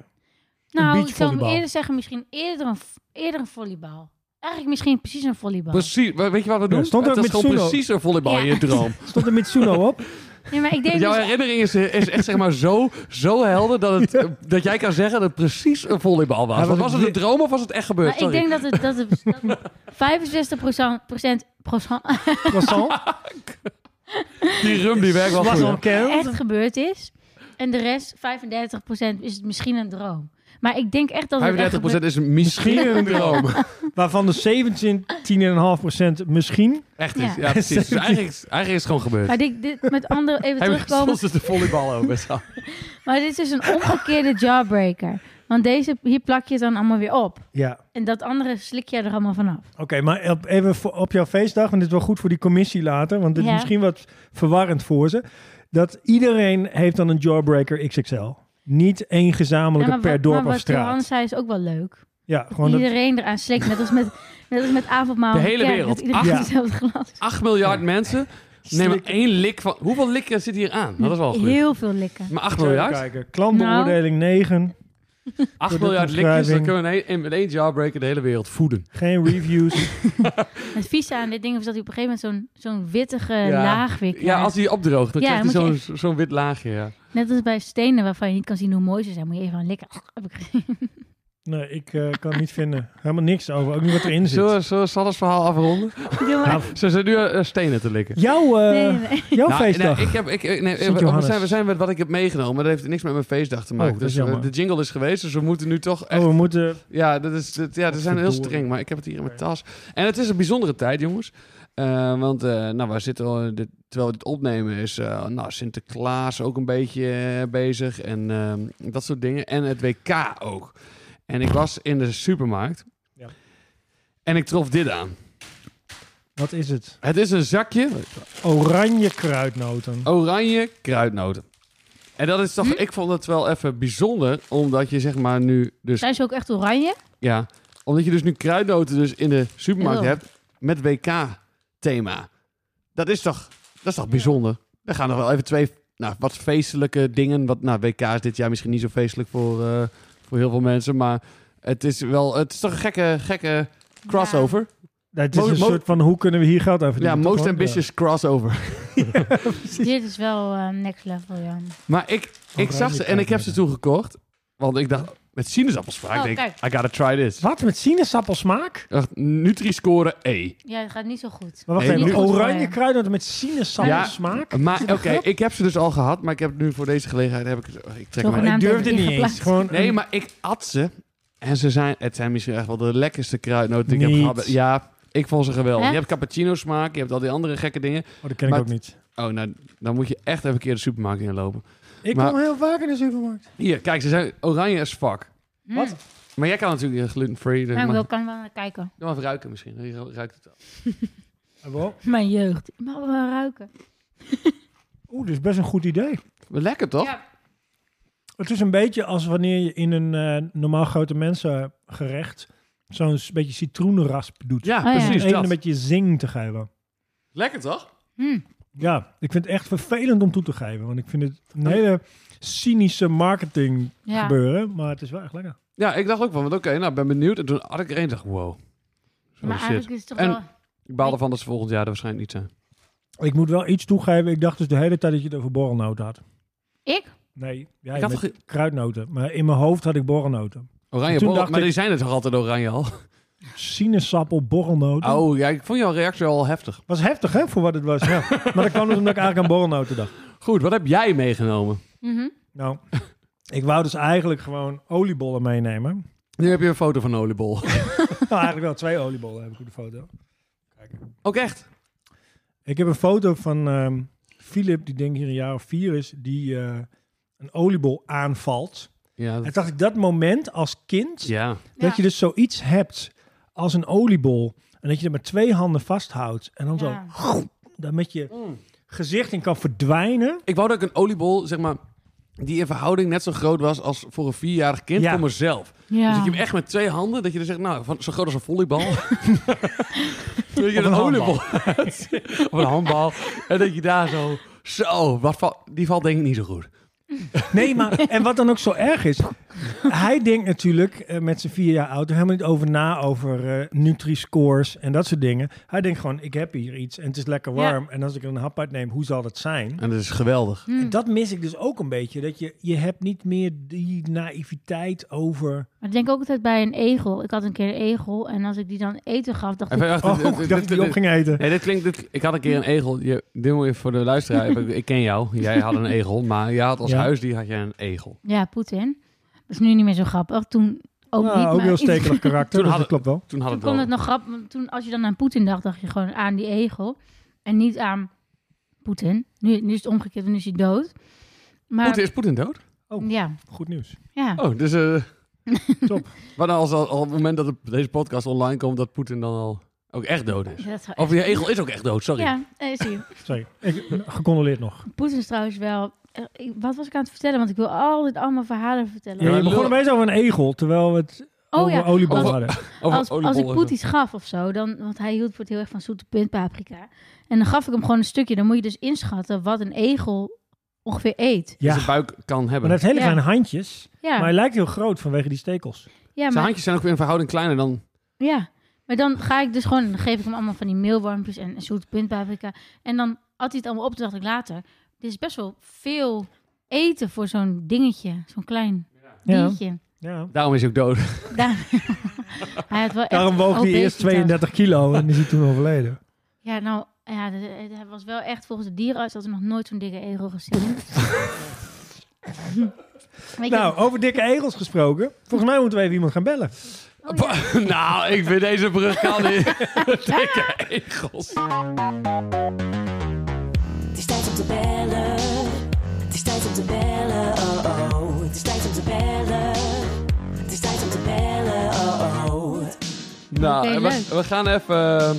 S4: Nou, ik zou hem
S1: beachvolleybal.
S4: eerder zeggen, misschien eerder een, v- eerder een volleybal. Eigenlijk misschien precies een volleybal.
S3: Precies, we- weet je wat we doen?
S1: stond er
S3: het is
S1: met
S3: gewoon
S1: Suno.
S3: precies een volleybal in
S4: Ja.
S3: je droom.
S1: Stond er Mitsuno op?
S4: nee, maar ik deed
S3: Jouw
S4: dus-
S3: herinnering is, is echt zeg maar zo, zo helder dat, het, eh, dat jij kan zeggen dat het precies een volleybal was.
S1: Hij was
S3: Want was
S1: een
S3: het een
S1: wi-
S3: droom of was het echt gebeurd?
S4: maar ik
S3: Sorry.
S4: denk dat het, dat het dat 65 procent, procent
S1: Croissant?
S3: Die rum die werkt wel
S1: Was
S3: goed.
S1: al
S3: hè?
S1: een kerel?
S4: echt gebeurd is. En de rest, 35 is het misschien een droom. Maar ik denk echt dat het echt
S3: 35%
S4: gebeurd-
S3: is een misschien een droom.
S1: Waarvan de 17,5% misschien.
S3: Echt is, ja,
S4: Ja.
S3: precies. Dus eigenlijk, is- eigenlijk is het gewoon gebeurd.
S4: Maar dit, dit, met andere even
S3: Hij
S4: terugkomen.
S3: stond dus de volleybal over.
S4: Maar dit is een omgekeerde jawbreaker. Want deze, hier plak je het dan allemaal weer op.
S1: Ja.
S4: En dat andere slik je er allemaal vanaf.
S1: Oké, maar op- even voor- op jouw feestdag, want dit is wel goed voor die commissie later, want dit is
S4: Ja.
S1: misschien wat verwarrend voor ze. Dat iedereen heeft dan een jawbreaker XXL. Niet één gezamenlijke
S4: maar
S1: per
S4: wat,
S1: dorp
S4: maar
S1: of
S4: wat Johan
S1: straat.
S4: zei is ook wel leuk.
S1: Ja, gewoon dat,
S4: iedereen eraan slikt. Net als met, net als met avondmaal.
S3: De
S4: en
S3: hele
S4: kerk,
S3: wereld. Ah.
S4: Dat iedereen
S1: Ja.
S4: hetzelfde glas.
S3: 8 miljard mensen nemen
S1: Slikken.
S3: één lik van... Hoeveel likken zit hier aan? Nou, dat is wel goed.
S4: Heel veel likken.
S3: Maar 8
S1: Even
S3: miljard?
S1: kijken. Klantbeoordeling
S4: Nou.
S1: 9,
S3: 8
S1: Door de
S3: miljard likjes, dan
S1: omschrijving.
S3: kunnen we in één- in met één jawbreaker de hele wereld voeden.
S1: geen reviews.
S4: Het vieze aan dit ding is dat hij op een gegeven moment zo'n zo'n wittige
S3: Ja.
S4: laag weer krijgt.
S3: Ja, als die opdroogt, dan
S4: eh, Ja,
S3: krijgt
S4: dan
S3: hij
S4: moet
S3: zo'n zo'n wit laagje. Ja.
S4: Net als bij stenen waarvan je niet kan zien hoe mooi ze zijn. Moet je even aan likken. Ah, Heb ik gezien.
S1: nee, ik eh, kan het niet vinden. Helemaal niks over, ook niet wat erin zit. Nou,
S3: Zullen we- zullen we Sanne's verhaal afronden?
S4: Doe maar.
S3: Ze zijn nu eh, stenen te likken.
S1: Jouw, eh,
S4: Nee, nee, nee.
S1: jouw
S3: Nou,
S1: feestdag.
S3: nee, ik heb, ik, nee,
S1: Sint
S3: we,
S1: Johannes.
S3: zijn, we zijn met wat ik heb meegenomen, maar dat heeft niks met mijn feestdag te maken.
S1: Oh, dat
S3: dus
S1: is
S3: eh,
S1: jammer.
S3: de jingle is geweest, dus we moeten nu toch echt...
S1: Oh, we moeten...
S3: Ja, dat is, dat, ja, dat zijn heel
S1: Godverdorie.
S3: streng, maar ik heb het hier in mijn tas. En het is een bijzondere tijd, jongens. Eh, want eh, nou, we zitten al, dit, terwijl we dit opnemen is eh, nou, Sinterklaas ook een beetje eh, bezig en ehm, dat soort dingen. En het WK ook. En ik was in de supermarkt
S1: Ja.
S3: en ik trof dit aan.
S1: Wat is het?
S3: Het is een zakje
S1: Oranje kruidnoten.
S3: Oh, Oranje kruidnoten. En dat is toch, ik vond het wel even bijzonder, omdat je zeg maar nu dus,
S4: Zijn ze ook echt oranje?
S3: ja, omdat je dus nu kruidnoten dus in de supermarkt
S4: Ew.
S3: hebt met WK-thema. Dat is toch, dat is toch bijzonder. Daar gaan nog wel even twee, nou, wat feestelijke dingen. Wat, nou, WK is dit jaar misschien niet zo feestelijk voor, eh, voor heel veel mensen, maar het is wel, het is toch een gekke, gekke crossover.
S1: Nou, het is
S3: Mo-
S1: een
S3: mo-
S1: soort van, hoe kunnen we hier geld aan
S3: Ja,
S1: verdienen? toch,
S3: most
S1: hoor?
S3: ambitious crossover.
S4: Dit is wel eh, next level, Jan.
S3: Maar ik, ik
S1: Oranje
S3: zag ze en ik heb ze toen gekocht. Want ik dacht, met sinaasappels
S4: Oh,
S3: ik denk,
S4: kijk.
S3: I gotta try this.
S1: Wat, met sinaasappelsmaak?
S3: Ik dacht, Nutri-score E.
S4: Ja, het gaat niet zo goed.
S1: Maar wacht
S3: Nee,
S1: even,
S3: nu-
S1: oranje kruidnoten met sinaasappelsmaak?
S3: Maar oké,
S1: grap?
S3: ik heb ze dus al gehad, maar ik heb nu voor deze gelegenheid heb ik het. oh, Ik trek
S4: Toch
S3: mijn-
S4: een-
S1: Ik
S4: Naam
S1: durfde
S4: hebben
S1: niet
S4: we
S1: eens.
S4: ingeplakt.
S1: Gewoon,
S3: Nee, maar ik at ze en ze zijn, het zijn misschien echt wel de lekkerste kruidnoten die ik
S1: Niet.
S3: heb gehad. Ja, ik vond ze geweldig.
S4: Hè?
S3: Je hebt cappuccino smaak, je hebt al die andere gekke dingen.
S1: Oh, dat ken ik
S3: maar-
S1: ook niet.
S3: Oh, nou, dan moet je echt even een keer de supermarkt inlopen.
S1: Ik
S3: maar-
S1: kom heel vaak in de supermarkt.
S3: Hier, kijk, ze zijn oranje as fuck.
S4: Hm.
S1: Wat?
S3: Maar jij kan natuurlijk eh, gluten-free. dus
S4: Nou, ik
S3: mag-
S4: wil, kan wel naar kijken.
S3: Doe maar even ruiken misschien. Je ruikt het al.
S1: En Eh, wel-
S4: Mijn jeugd. Mag we wel ruiken?
S1: Oeh, dat is best een goed idee.
S3: Lekker toch?
S4: Ja.
S1: Het is een beetje als wanneer je in een eh, normaal grote mensengerecht zo'n s- beetje citroenrasp doet.
S3: Ja,
S4: Oh, ja.
S3: precies
S1: Even
S3: dat.
S1: een beetje zing te geven.
S3: Lekker toch?
S4: Hm.
S1: Ja, ik vind het echt vervelend om toe te geven. Want ik vind het een hele cynische marketing
S4: Ja.
S1: gebeuren. Maar het is wel echt lekker.
S3: Ja, ik dacht ook van, want oké, nou, ik ben benieuwd. En toen had ik er één dacht, wow. Zo
S4: Maar
S3: shit.
S4: eigenlijk is het toch
S3: En-
S4: wel...
S3: Ik baal ervan dat ze volgend jaar er waarschijnlijk niet zijn.
S1: Ik moet wel iets toegeven. Ik dacht dus de hele tijd dat je het over borrelnoten had.
S4: Ik?
S1: Nee, jij
S3: Ik had
S1: met
S3: ge-
S1: kruidnoten. Maar in mijn hoofd had ik borrelnoten.
S3: Oranje
S1: Toen
S3: borrel,
S1: dacht
S3: maar
S1: ik-
S3: die zijn er toch altijd oranje al?
S1: Sinaasappel, borrelnoten.
S3: Oh ja, ik vond jouw reactie al heftig.
S1: Was heftig, hè, voor wat het was. Ja. maar dat kwam dus omdat ik eigenlijk aan borrelnoten dacht.
S3: Goed, wat heb jij meegenomen?
S4: Mhm.
S1: Nou, ik wou dus eigenlijk gewoon oliebollen meenemen.
S3: Nu heb je een foto van een oliebol.
S1: Nou, eigenlijk wel twee oliebollen heb ik op de foto.
S3: ook echt?
S1: Ik heb een foto van ehm, Philip, die denk ik hier een jaar of vier is, die eh, een oliebol aanvalt.
S3: Ja.
S1: En dacht ik, dat moment als kind,
S3: ja.
S1: dat
S4: Ja.
S1: je dus zoiets hebt als een oliebol. En dat je er met twee handen vasthoudt. En dan
S4: Ja.
S1: zo, daar met je gezicht in kan verdwijnen.
S3: Ik wou dat ik een oliebol, zeg maar, die in verhouding net zo groot was als voor een vierjarig kind
S1: Ja.
S3: voor mezelf. Dus
S4: Ja.
S3: dat je hem echt met twee handen, dat je dan zegt, nou, van, zo groot als een volleybal. Weet je,
S1: Of
S3: een
S1: een handbal.
S3: oliebol. of een handbal. En dat je daar zo, zo, wat val- die valt denk ik niet zo goed.
S1: Nee, maar en wat dan ook zo erg is. Hij denkt natuurlijk eh, met zijn vier jaar oud er helemaal niet over na over eh, Nutri-scores en dat soort dingen. Hij denkt gewoon, ik heb hier iets en het is lekker warm. En als ik er een hap uit neem, hoe zal dat zijn?
S3: En dat is geweldig.
S4: Mm.
S1: En dat mis ik dus ook een beetje. Dat je, je hebt niet meer die naïviteit over... oh,
S4: Maar ik denk ook altijd bij een egel. Ik had een keer een egel en als ik die dan eten gaf, dacht
S3: Even,
S4: ik...
S3: wacht,
S1: Oh,
S3: dit-
S1: ik
S3: dit-
S1: dacht dat ik die
S3: dit-
S1: op ging eten.
S3: Nee, dit klinkt, dit- ik had een keer een egel. Je, dit moet je voor de luisteraar. even- ik ken jou. Jij had een egel, maar jij had als
S1: Ja.
S3: huisdier had jij een egel.
S4: Ja, Poetin. Dat is nu niet meer zo grappig. Toen ook
S1: Ah,
S4: niet.
S1: ook
S4: maar-
S1: heel stekelig karakter,
S3: Toen
S1: dus
S3: had
S1: dat
S3: het-
S1: klopt wel.
S3: Toen had
S4: Toen
S3: het
S4: kon
S3: wel.
S4: het nog grappig. want Toen, als je dan aan Poetin dacht, dacht je gewoon aan die egel. En niet aan Poetin. Nu, nu is het omgekeerd en nu is hij dood. Maar
S3: Poetin, is Poetin dood?
S1: Poetin.
S4: ja,
S1: Goed nieuws.
S4: ja.
S3: Oh, dus... eh
S1: Top.
S3: Maar dan als, al, al op het moment dat de- deze podcast online komt, dat Poetin dan al ook echt dood is.
S4: Dat zou
S3: Of
S4: echt-
S3: je egel is ook echt dood, sorry.
S4: Ja, eh, zie je.
S1: Sorry, ik, gecondoleerd nog.
S4: Poetin is trouwens wel... eh, ik- Wat was ik aan het vertellen? Want ik wil altijd allemaal verhalen vertellen.
S1: Ja,
S3: maar
S1: je begon
S3: lul-
S1: opeens over een egel, terwijl we het
S4: oh
S1: over
S4: ja,
S1: oliebollen
S3: Als-
S1: hadden.
S3: Over
S4: als, als ik
S3: oliebollen.
S4: poeties gaf of zo, dan, want hij hield voor het heel erg van zoete puntpaprika. En dan gaf ik hem gewoon een stukje. Dan moet je dus inschatten wat een egel ongeveer eet.
S3: Die
S1: Ja,
S3: zijn
S1: maar
S3: dus buik kan
S1: hij
S3: hebben.
S1: heeft hele
S4: Ja.
S1: kleine handjes.
S4: Ja,
S1: Maar hij lijkt heel groot vanwege die stekels.
S4: ja,
S3: Zijn
S4: maar,
S3: handjes zijn ook weer in verhouding kleiner dan...
S4: ja, maar dan ga ik dus gewoon, dan geef ik hem allemaal van die meelwormpjes en, en zoete puntpaprika. En dan had hij het allemaal op, toen dacht ik later, dit is best wel veel eten voor zo'n dingetje, zo'n klein
S1: Ja.
S4: diertje.
S1: ja.
S3: Daarom is hij ook dood.
S4: Daar, hij had wel echt
S1: Daarom woog hij
S4: obesitas.
S1: eerst 32 kilo en is hij toen overleden.
S4: Ja, nou, ja, de- de- hij was wel echt volgens de dierenarts had ik nog nooit zo'n dikke egel gezien. Maar ik
S1: Nou,
S4: heb-
S1: over dikke egels gesproken. Volgens mij moeten we even iemand gaan bellen.
S3: nou, ik vind deze brug kan niet. Dikke egels.
S2: Het is tijd om te bellen. Het is tijd om te bellen. Oh oh. Het is tijd om te bellen. Het is tijd om te bellen. Oh oh.
S3: Nou,
S4: Oké,
S3: en
S4: leuk.
S3: we, we gaan even eh,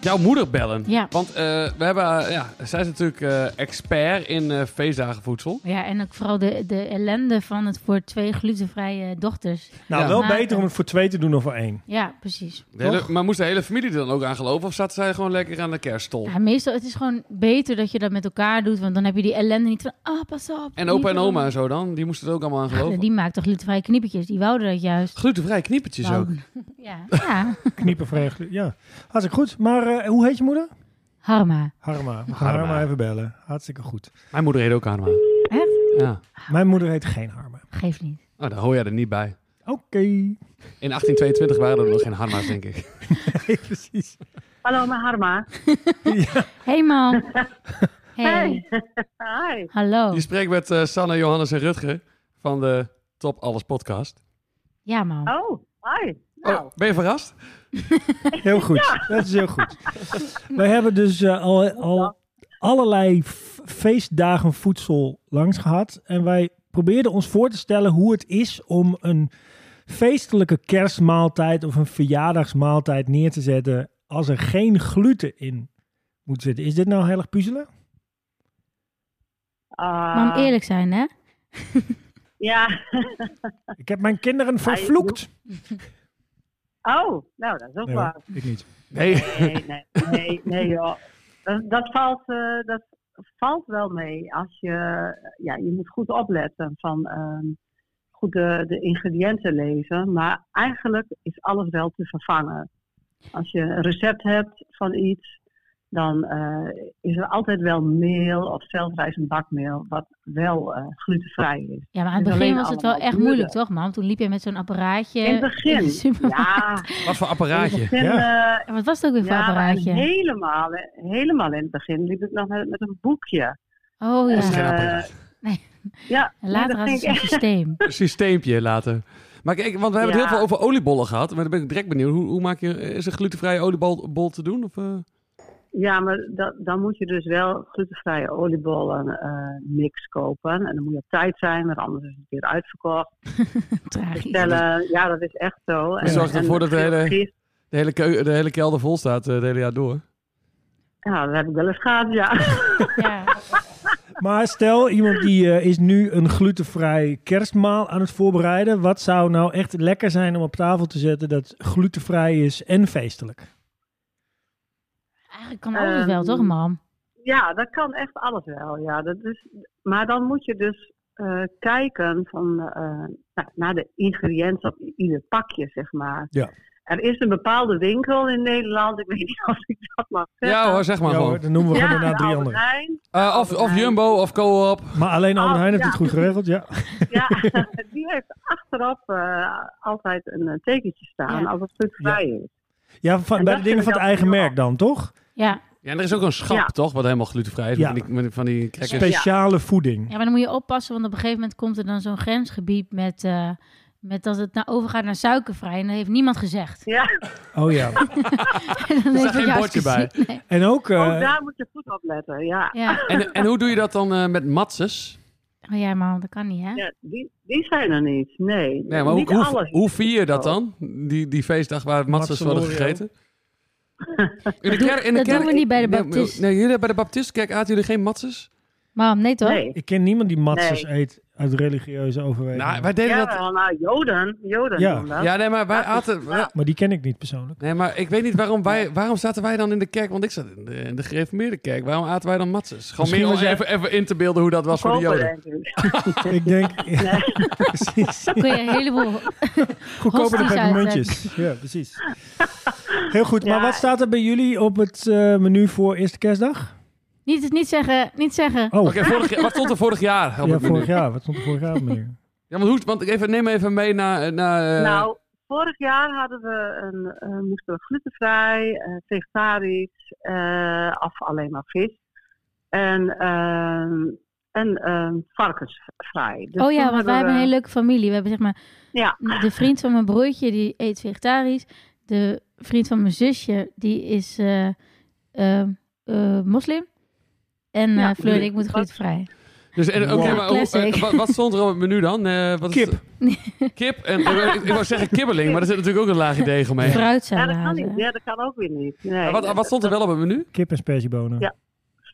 S3: jouw moeder bellen.
S4: Ja.
S3: Want eh, we hebben, eh, ja, zij is natuurlijk eh, expert in eh, feestdagenvoedsel.
S4: ja, en ook vooral de, de ellende van het voor twee glutenvrije dochters.
S1: Nou,
S3: Ja.
S1: wel
S4: Maken.
S1: beter om het voor twee te doen dan voor één.
S4: Ja, precies.
S3: De hele- maar moest de hele familie er dan ook aan geloven? Of zat zij gewoon lekker aan de kerststol?
S4: Ja, meestal het is gewoon beter dat je dat met elkaar doet, want dan heb je die ellende niet van, ah, pas op.
S3: En opa
S4: niet
S3: en
S4: doen.
S3: oma en zo dan? Die moesten er ook allemaal aan
S4: Ja,
S3: geloven?
S4: die maakt toch glutenvrije knippetjes? Die wouden dat juist.
S3: Glutenvrij kniepertjes ook.
S4: Wouden. Ja. ja.
S1: Kniepen vreugde. Ja, hartstikke goed. Maar eh, hoe heet je moeder?
S4: Harma.
S1: Harma. We gaan
S3: Harma.
S1: Harma even bellen. Hartstikke goed.
S3: Mijn moeder heet ook Arma.
S4: Echt?
S3: Ja.
S1: Mijn moeder heet geen Harma.
S4: Geeft niet.
S3: Oh, daar hoor jij er niet bij.
S1: Oké.
S3: In 1822 waren er nog geen Harma's, denk ik.
S1: Precies.
S6: Hallo, mijn Harma.
S4: Hey, mam. Hey.
S6: Hi.
S4: Hallo.
S3: Je spreekt met eh Sanne, Johannes en Rutger van de Top Alles podcast.
S4: Ja, mam.
S6: Oh, hi. Nou,
S3: Oh, ben je verrast?
S1: Heel goed. Dat is heel goed. Wij hebben dus eh, al, al allerlei f- feestdagen voedsel langs gehad. En wij probeerden ons voor te stellen hoe het is om een feestelijke kerstmaaltijd of een verjaardagsmaaltijd neer te zetten als er geen gluten in moet zitten. Is dit nou heel erg puzzelen?
S6: Ah,
S4: Maar om eerlijk zijn, hè?
S6: Ja.
S1: Ik heb mijn kinderen vervloekt.
S6: Oh, nou, dat is ook
S1: Nee
S6: waar.
S1: hoor, ik niet.
S3: Nee.
S6: Nee, nee, nee, nee joh. Dat, dat, valt, eh, dat valt wel mee. Als je, ja, je moet goed opletten van ehm, goed de, de ingrediënten lezen. Maar eigenlijk is alles wel te vervangen. Als je een recept hebt van iets, dan eh, is er altijd wel meel of zelfrijzend bakmeel, wat wel eh, glutenvrij is.
S4: Ja, maar aan het
S6: Het is
S4: begin
S6: alleen
S4: was het wel
S6: allemaal
S4: echt
S6: moeilijk.
S4: moeilijk, toch, man? Toen liep je met zo'n apparaatje.
S6: In het
S4: in
S6: begin,
S4: de supermarkt.
S6: ja,
S3: Wat voor
S6: in het
S3: apparaatje?
S6: begin eh,
S4: Ja, Wat was het ook weer voor
S6: Ja, maar
S4: apparaatje?
S6: helemaal, helemaal in het begin liep ik nog met, met een boekje.
S4: Oh ja,
S3: Dat is geen
S6: eh,
S3: apparaat.
S6: Ja,
S4: En
S6: nee,
S4: later
S6: dat
S4: had
S6: ging
S4: het zo'n
S6: ik echt-
S4: systeem.
S3: Een systeempje laten. Maar kijk, want we hebben het
S6: Ja.
S3: heel veel over oliebollen gehad. Maar dan ben ik direct benieuwd. Hoe, hoe maak je... Is een glutenvrije oliebol bol te doen? Of, eh?
S6: Ja, maar dat, dan moet je dus wel glutenvrije oliebollen eh, mix kopen. En dan moet je op tijd zijn, want anders is het weer uitverkocht.
S4: Tragisch.
S6: Bestellen, ja, dat is echt zo. En,
S3: zorgt ervoor
S6: en
S3: dat de hele-
S6: gist-
S3: De hele, keu- de hele kelder vol staat eh het hele jaar door.
S6: Ja, dat heb ik wel eens gehad, ja.
S4: Ja.
S1: Maar stel, iemand die eh, is nu een glutenvrij kerstmaal aan het voorbereiden. Wat zou nou echt lekker zijn om op tafel te zetten dat glutenvrij is en feestelijk?
S4: Eigenlijk kan alles
S6: Ehm,
S4: wel, toch, mam?
S6: Ja, dat kan echt alles wel. Ja. Dat is, maar dan moet je dus eh, kijken van, eh, nou, naar de ingrediënten op ieder pakje, zeg maar.
S1: Ja.
S6: Er is een bepaalde winkel in Nederland, ik weet niet of ik dat mag zeggen.
S3: Ja hoor, zeg maar
S1: Ja,
S3: gewoon.
S1: hoor, dan noemen we
S6: Ja,
S1: gewoon daarna
S6: de
S1: drie
S6: Albert
S1: andere.
S6: Heijn.
S3: Eh, of, of Jumbo of Co-op.
S1: Maar alleen Albert
S6: Oh,
S1: Heijn heeft
S6: ja.
S1: het goed geregeld, ja.
S6: Ja, die heeft achterop eh, altijd een eh, tekentje staan
S4: Ja.
S6: als het stuk vrij is.
S1: Ja, van,
S6: En
S1: bij de dingen
S6: dat vind
S1: van
S6: ik
S1: het
S6: altijd
S1: eigen
S6: heel
S1: merk dan, toch?
S4: Ja.
S3: Ja, en er is ook een schap,
S6: Ja.
S3: toch? Wat helemaal glutenvrij is.
S1: Ja.
S3: Met Van die, met van die crackers.
S1: Speciale voeding.
S4: ja, maar dan moet je oppassen, want op een gegeven moment komt er dan zo'n grensgebied met, eh, met dat het nou overgaat naar suikervrij. En dat heeft niemand gezegd.
S6: Ja,
S1: Oh ja.
S4: En dan
S3: Er
S4: denk
S3: staat
S4: ik,
S3: geen
S4: ja,
S3: bordje bij.
S4: precies. Nee.
S1: En ook, eh,
S6: ook Oh, daar moet je goed op letten. Ja,
S4: Ja.
S3: En, en hoe doe je dat dan eh, met matses?
S4: Oh ja, mam, dat kan niet, hè?
S6: ja die, die zijn er niet. Nee,
S3: Nee, maar hoe,
S6: niet
S3: hoe,
S6: alles. Oh.
S3: hoe vier je dat dan? Die, die feestdag waar matses worden
S1: Matselorio.
S3: gegeten? In de
S4: doen-
S3: kerk-
S4: dat doen we niet bij de
S3: Nee,
S4: Baptist.
S3: Nee, jullie bij de Baptist, kijk, aten jullie geen matses?
S4: Mam, nee toch?
S6: nee.
S1: ik ken niemand die matzes
S6: Nee.
S1: eet uit religieuze overwegingen.
S3: Nou, wij deden
S6: Ja,
S3: dat...
S6: wel, nou, Joden. Joden
S1: Ja.
S6: doen dat.
S3: Ja, nee, maar wij aten... wij-
S1: Maar die ken ik niet persoonlijk.
S3: Nee, maar ik weet niet waarom wij... Waarom zaten wij dan in de kerk? Want ik zat in de, in de gereformeerde kerk. Waarom aten wij dan matses? Gewoon
S1: Misschien
S3: meer om
S1: was jij-
S3: even, even in te beelden hoe dat was voor de
S6: Kopen,
S3: joden.
S6: denk ik.
S1: ik denk, ja, precies.
S4: Dan kun je een heleboel...
S1: Goedkoper de
S4: Hosties
S1: pepermuntjes. Ja, precies. Heel goed. Maar
S6: Ja.
S1: wat staat er bij jullie op het eh, menu voor eerste kerstdag?
S4: niet, niet zeggen, niet zeggen.
S1: Oh,
S3: Oké, vorig jaar- wat stond er vorig jaar? op
S1: ja,
S3: het menu?
S1: vorig jaar. Wat stond er vorig jaar op het menu?
S3: Ja, want, hoe, want even, neem me even mee naar... naar eh,
S6: Nou, vorig jaar hadden we een, eh, moesten we glutenvrij, eh, vegetarisch eh, of alleen maar vis. En, ehm, en ehm, varkensvrij. Dus
S4: oh ja,
S6: toen
S4: want wij hebben een
S6: we-
S4: hele leuke familie. We hebben zeg maar
S6: Ja.
S4: de vriend van mijn broertje die eet vegetarisch. De vriend van mijn zusje die is eh, eh, eh, moslim. En eh
S6: Ja.
S4: Fleur en ik moet glutenvrij.
S3: Dus, en, oké,
S1: Wow.
S3: maar hoe-
S4: Classic.
S3: eh, wat, wat stond er op het menu dan? Eh, wat is
S1: Kip.
S3: het? Kip. En, eh, ik, ik wou zeggen kibbeling, maar er zit natuurlijk ook een laag idee omheen.
S6: Ja, dat kan niet.
S4: Fruitsalade.
S6: Ja, dat kan ook weer niet. Nee.
S3: Maar Wat, wat stond er wel op het menu?
S1: Kip en sperziebonen.
S6: Ja.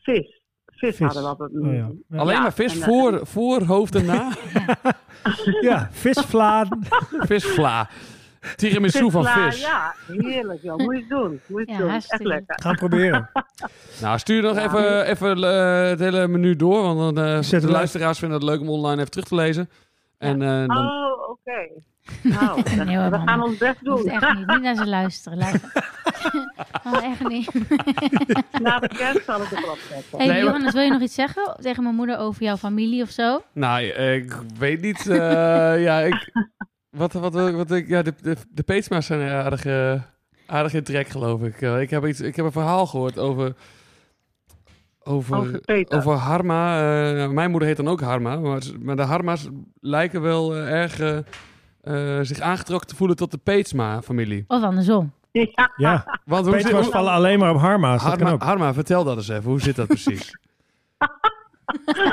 S6: Vis. Vis,
S1: Vis.
S6: hadden we op het menu.
S1: Oh, ja. Ja.
S3: Alleen
S6: Ja,
S3: maar vis
S6: en, eh,
S3: voor, voor, hoofd en na.
S1: ja, visvla.
S3: Visvla. Tiramisu van
S6: Visla,
S3: vis.
S6: Ja, heerlijk joh. Moet je het doen. Moet je het
S4: Ja,
S6: doen. Echt
S4: hartstikke.
S6: lekker.
S1: Gaan proberen.
S3: Nou, stuur nog even, even eh, het hele menu door, want dan, eh,
S1: Zet
S3: de
S1: het-
S3: luisteraars vinden het leuk om online even terug te lezen. En eh,
S1: Ah.
S3: dan,
S6: Oh, oké. Nou,
S4: Nee hoor,
S6: we
S4: mama.
S6: gaan ons best
S4: Dat is
S6: doen.
S4: echt niet. Niet naar ze luisteren. Luister. Oh, echt niet.
S6: Na de kerst zal ik het erop zetten.
S3: Nee,
S4: Hey,
S3: maar-
S4: Johannes, wil je nog iets zeggen tegen mijn moeder over jouw familie of zo?
S3: nou, eh, ik weet niet. eh, ja, ik, wat, wat, wat, wat ik, ja, de, de, de Peetsma's zijn er aardig, eh, aardig in trek, geloof ik. Eh, ik, heb iets, ik heb een verhaal gehoord over...
S6: Over Peter.
S3: Over Harma. eh, mijn moeder heet dan ook Harma. Maar, ze- maar de Harma's lijken wel eh, erg eh, eh, zich aangetrokken te voelen tot de Peetsma-familiie.
S4: Of andersom?
S6: Ja.
S1: Ja,
S3: Want hoe zit, Ah,
S1: Peetma's
S3: hoe,
S1: vallen alleen maar op harma's. Dat kan
S3: Harma,
S1: ook.
S3: Harma, vertel dat eens even. Hoe zit dat precies?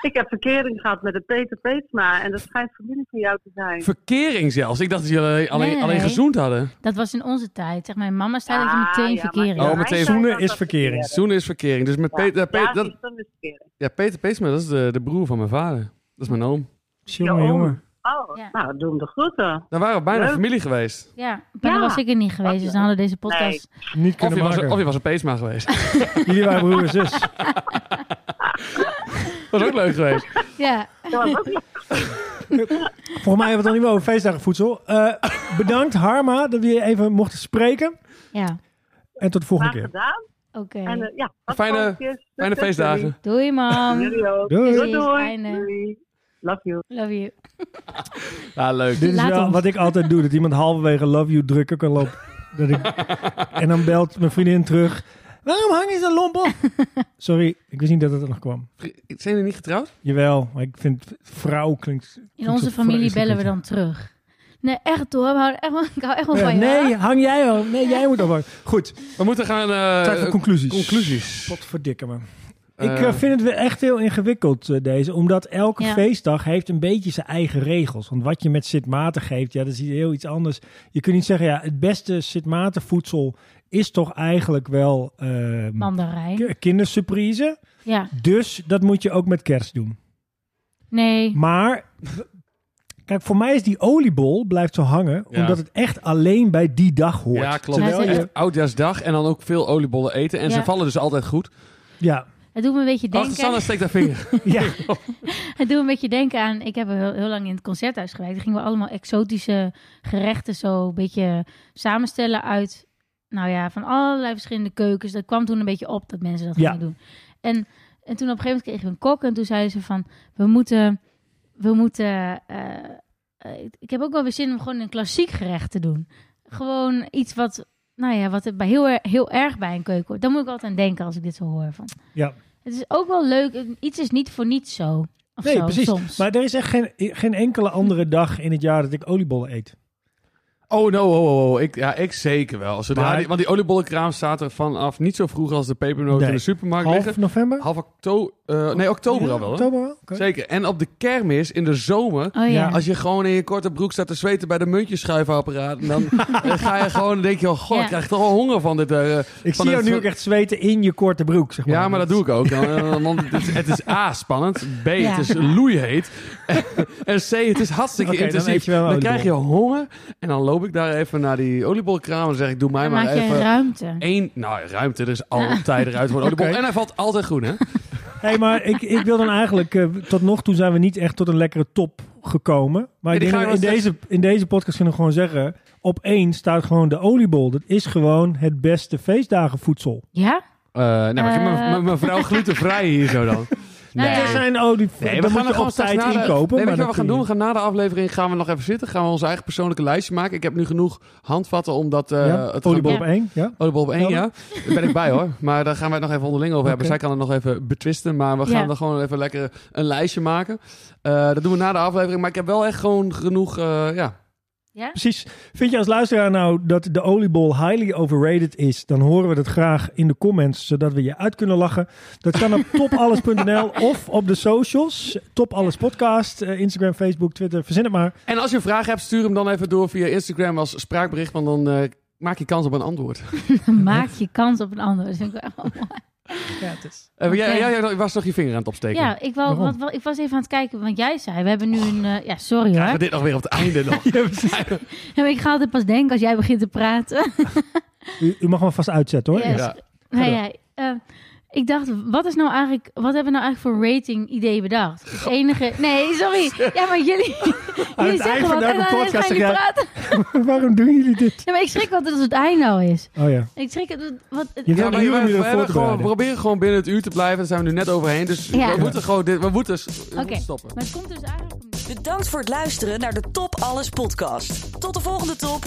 S6: Ik heb verkering gehad met de Peter Peetsma en dat schijnt familie van jou te zijn.
S3: Verkering zelfs. Ik dacht dat jullie alleen,
S4: Nee.
S3: alleen gezoend hadden.
S4: Dat was in onze tijd. Zeg, mijn mama zei dat je
S6: Ah,
S4: meteen
S6: ja, maar-
S4: verkering
S3: Oh,
S4: had.
S3: meteen.
S6: Hij zei
S1: Zoenen
S6: dat
S1: is
S6: dat
S1: verkering.
S3: Zoenen is verkering. Dus met
S6: Ja,
S3: Peter, eh,
S6: ja,
S3: Peter, dat,
S6: zoenen is verkering.
S3: ja, Peter Peetsma, dat is de, de broer van mijn vader. Dat is mijn oom.
S1: Jongen,
S6: Ja,
S1: jongen.
S6: Oh,
S4: Ja.
S6: nou, doe hem de groeten.
S3: Dan waren we bijna
S6: Leuk.
S3: familie geweest.
S4: Ja, maar dan
S6: Ja.
S4: was ik er niet geweest. Dus dan hadden we deze podcast...
S1: Niet
S3: Of
S1: kunnen
S3: je, was,
S1: maken.
S3: of je was een Peetsma geweest.
S1: Jullie waren broer en zus.
S3: Dat was ook leuk geweest.
S4: Ja,
S1: Volgens mij hebben we het dan niet meer over feestdagenvoedsel. Eh, bedankt Harma dat we je even mochten spreken.
S4: ja.
S1: En tot de volgende
S6: Graag
S1: keer.
S6: gedaan.
S4: Oké.
S6: En eh, ja, tot
S3: Fijne-
S6: volgende keer.
S3: Fijne
S6: Succes
S3: feestdagen.
S4: Doei, mam.
S6: jullie. Jullie ook.
S1: Doei.
S6: Doei.
S4: Fijne.
S6: Doei. Doei. Love you.
S4: Love you.
S3: Ja, leuk.
S1: Dit is
S4: Laat
S1: wel
S4: ons.
S1: wat ik altijd doe. Dat iemand halverwege love you drukken kan lopen. Dat ik, en dan belt mijn vriendin terug. Waarom hang je zo lomp op? Sorry, ik wist niet dat het er nog kwam.
S3: Zijn jullie niet getrouwd?
S1: Jawel, maar ik vind vrouw klinkt...
S4: In onze familie bellen we dan terug. Nee, echt hoor. We houden echt wel- Ik hou echt wel
S1: Ja,
S4: van je.
S1: Eh, nee, hang jij al. Nee, jij moet ophangen. Goed,
S3: We moeten gaan... eh,
S1: tijd voor conclusies.
S3: conclusies.
S1: Potverdikke me.
S3: Eh,
S1: ik eh, vind het weer echt heel ingewikkeld eh, deze. Omdat elke
S4: Ja.
S1: feestdag heeft een beetje zijn eigen regels. Want wat je met Sint Maarten geeft, ja, dat is heel iets anders. Je kunt niet zeggen, ja, het beste Sint Maarten voedsel is toch eigenlijk wel eh,
S4: Mandarijn.
S1: ki- kindersurprise.
S4: Ja.
S1: Dus dat moet je ook met kerst doen.
S4: Nee.
S1: Maar... Kijk, voor mij is die oliebol blijft zo hangen,
S3: Ja.
S1: omdat het echt alleen bij die dag hoort.
S3: Ja, klopt.
S1: Terwijl
S4: Ja,
S1: je-
S4: zeker.
S3: Oudjaarsdag en dan ook veel oliebollen eten. En
S4: Ja.
S3: ze vallen dus altijd goed.
S1: ja,
S4: Het doet me een beetje
S3: Ach,
S4: denken...
S3: Sanne steekt haar vinger.
S1: ja.
S4: Het doet me een beetje denken aan... Ik heb heel, heel lang in het concerthuis gewerkt. Dan gingen we allemaal exotische gerechten zo een beetje samenstellen uit... Nou ja, van allerlei verschillende keukens. Dat kwam toen een beetje op dat mensen dat
S1: Ja.
S4: gingen doen. En, en toen op een gegeven moment kregen we een kok. En toen zeiden ze van... We moeten... We moeten eh, eh, ik- ik heb ook wel weer zin om gewoon een klassiek gerecht te doen. Gewoon iets wat... Nou ja, wat er bij heel, er- heel erg bij een keuken hoort. Daar moet ik altijd aan denken als ik dit zo hoor. Van.
S1: Ja.
S4: Het is ook wel leuk. eh, Iets is niet voor niets zo. Of
S1: Nee,
S4: zo,
S1: precies.
S4: Soms.
S1: Maar er is echt geen, geen enkele andere dag in het jaar dat ik oliebollen eet.
S3: Oh, no, oh, oh, oh. Ik, ja, ik zeker wel. Zodra
S1: Maar-
S3: die- want die oliebollenkraam staat er vanaf niet zo vroeg als de pepernoten
S1: Nee.
S3: in de supermarkt
S1: Half
S3: liggen.
S1: november?
S3: Half oktober. nee, oktober al wel. hè?
S1: Oktober al? Oké.
S3: Zeker. En op de kermis in de zomer.
S4: Oh ja.
S1: Ja,
S3: Als je gewoon in je korte broek staat te zweten bij de muntjeschuifapparaat. En dan eh, ga je gewoon, denk je, oh, god,
S4: Ja.
S3: ik krijg toch wel honger van dit. eh,
S1: Ik
S3: van
S1: zie jou
S3: het-
S1: nu ook echt zweten in je korte broek, zeg maar.
S3: Ja, maar dat doe ik ook. Eh, Want het is, het is A, spannend. B,
S4: Ja.
S3: het is loeiheet. En C, het is hartstikke
S1: Oké, dan eet
S3: intensief.
S1: je wel een
S3: Dan, krijg je
S1: oliebol. honger.
S3: En dan loop ik daar even naar die oliebolkraam en zeg ik, doe mij
S4: Dan
S3: maar
S4: maak je
S3: even
S4: ruimte.
S3: één... Nou, ruimte, er is altijd ruimte voor een oliebol.
S1: Oké.
S3: En hij valt altijd groen, hè?
S1: Hé, maar ik, ik wil dan eigenlijk... eh, tot nog toe zijn we niet echt tot een lekkere top gekomen. Maar
S3: Nee,
S1: ik
S3: die
S1: denk
S3: ga
S1: dat
S3: je
S1: we in,
S3: wel
S1: deze, in deze podcast kunnen we gewoon zeggen... Op één staat gewoon de oliebol. Dat is gewoon het beste feestdagenvoedsel.
S4: Ja?
S3: Eh, nou, maar ik heb mijn-
S4: Eh.
S3: mijn- mijn vrouw glutenvrij hier zo dan.
S4: Nou
S1: Er
S4: ja.
S1: zijn olie... dat moet
S3: er
S1: je op tijd
S3: straks na de-
S1: inkopen.
S3: Nee, weet
S1: maar
S3: je wat
S1: dat
S3: we gaan
S1: kun
S3: doen?
S1: je-
S3: We gaan na de aflevering gaan we nog even zitten. Gaan we ons eigen persoonlijke lijstje maken. Ik heb nu genoeg handvatten om dat... eh,
S1: ja?
S3: het
S1: oliebol
S4: Ja.
S1: op één, ja?
S3: Oliebol Oh, op
S1: Ja.
S3: één, ja. Daar ben ik bij hoor. Maar daar gaan wij het nog even onderling over hebben.
S1: Oké.
S3: Zij kan het nog even betwisten. Maar we
S4: Ja.
S3: gaan er gewoon even lekker een lijstje maken. Eh, dat doen we na de aflevering. Maar ik heb wel echt gewoon genoeg... eh, ja.
S4: Ja?
S1: Precies. Vind je als luisteraar nou dat de oliebol highly overrated is? Dan horen we dat graag in de comments, zodat we je uit kunnen lachen. Dat kan op topalles.nl of op de socials. Top Alles Podcast, eh, Instagram, Facebook, Twitter, verzin het maar.
S3: En als je een vraag hebt, stuur hem dan even door via Instagram als spraakbericht. Want dan eh, maak je kans op een antwoord.
S4: Dan maak je kans op een ander. Dat vind ik wel heel mooi.
S3: Eh, jij,
S4: Oké.
S3: jij, jij was nog je vinger aan het opsteken.
S4: Ja, ik, wou,
S1: Waarom?
S4: wat, wat- ik was even aan het kijken. Want jij zei, we hebben nu een... eh, ja, sorry
S3: Krijgen
S4: hoor.
S3: we dit nog weer op het einde nog?
S4: Ja, maar ik ga altijd pas denken als jij begint te praten.
S1: U, u mag hem vast uitzetten hoor.
S4: Yes.
S3: Ja.
S4: Nou ja, eh, ik dacht, wat is nou eigenlijk, wat hebben we nou eigenlijk voor rating idee bedacht? Het enige, nee, sorry. Ja, maar jullie, jullie
S1: eind
S4: zeggen
S1: van
S4: wat
S1: elke
S4: en dan
S1: podcast
S4: gaan
S1: zeg
S4: jullie
S1: jij-
S4: praten.
S1: Waarom doen jullie dit?
S4: Ja, maar ik schrik altijd als het eind nou is.
S1: Oh ja.
S4: Ik schrik het, wat,
S1: Je
S3: Ja,
S1: wil
S3: maar
S1: een uur
S3: we,
S1: om je
S3: we
S1: ervoor
S3: hebben
S1: te
S3: gewoon, we
S1: bereiden.
S3: proberen gewoon binnen het uur te blijven. Daar zijn we nu net overheen. Dus
S4: Ja.
S3: we moeten gewoon dit. We moeten. s- we
S4: oké.
S3: moeten stoppen.
S4: Maar het komt dus eigenlijk... om-
S2: Bedankt voor het luisteren naar de Top Alles podcast. Tot de volgende top.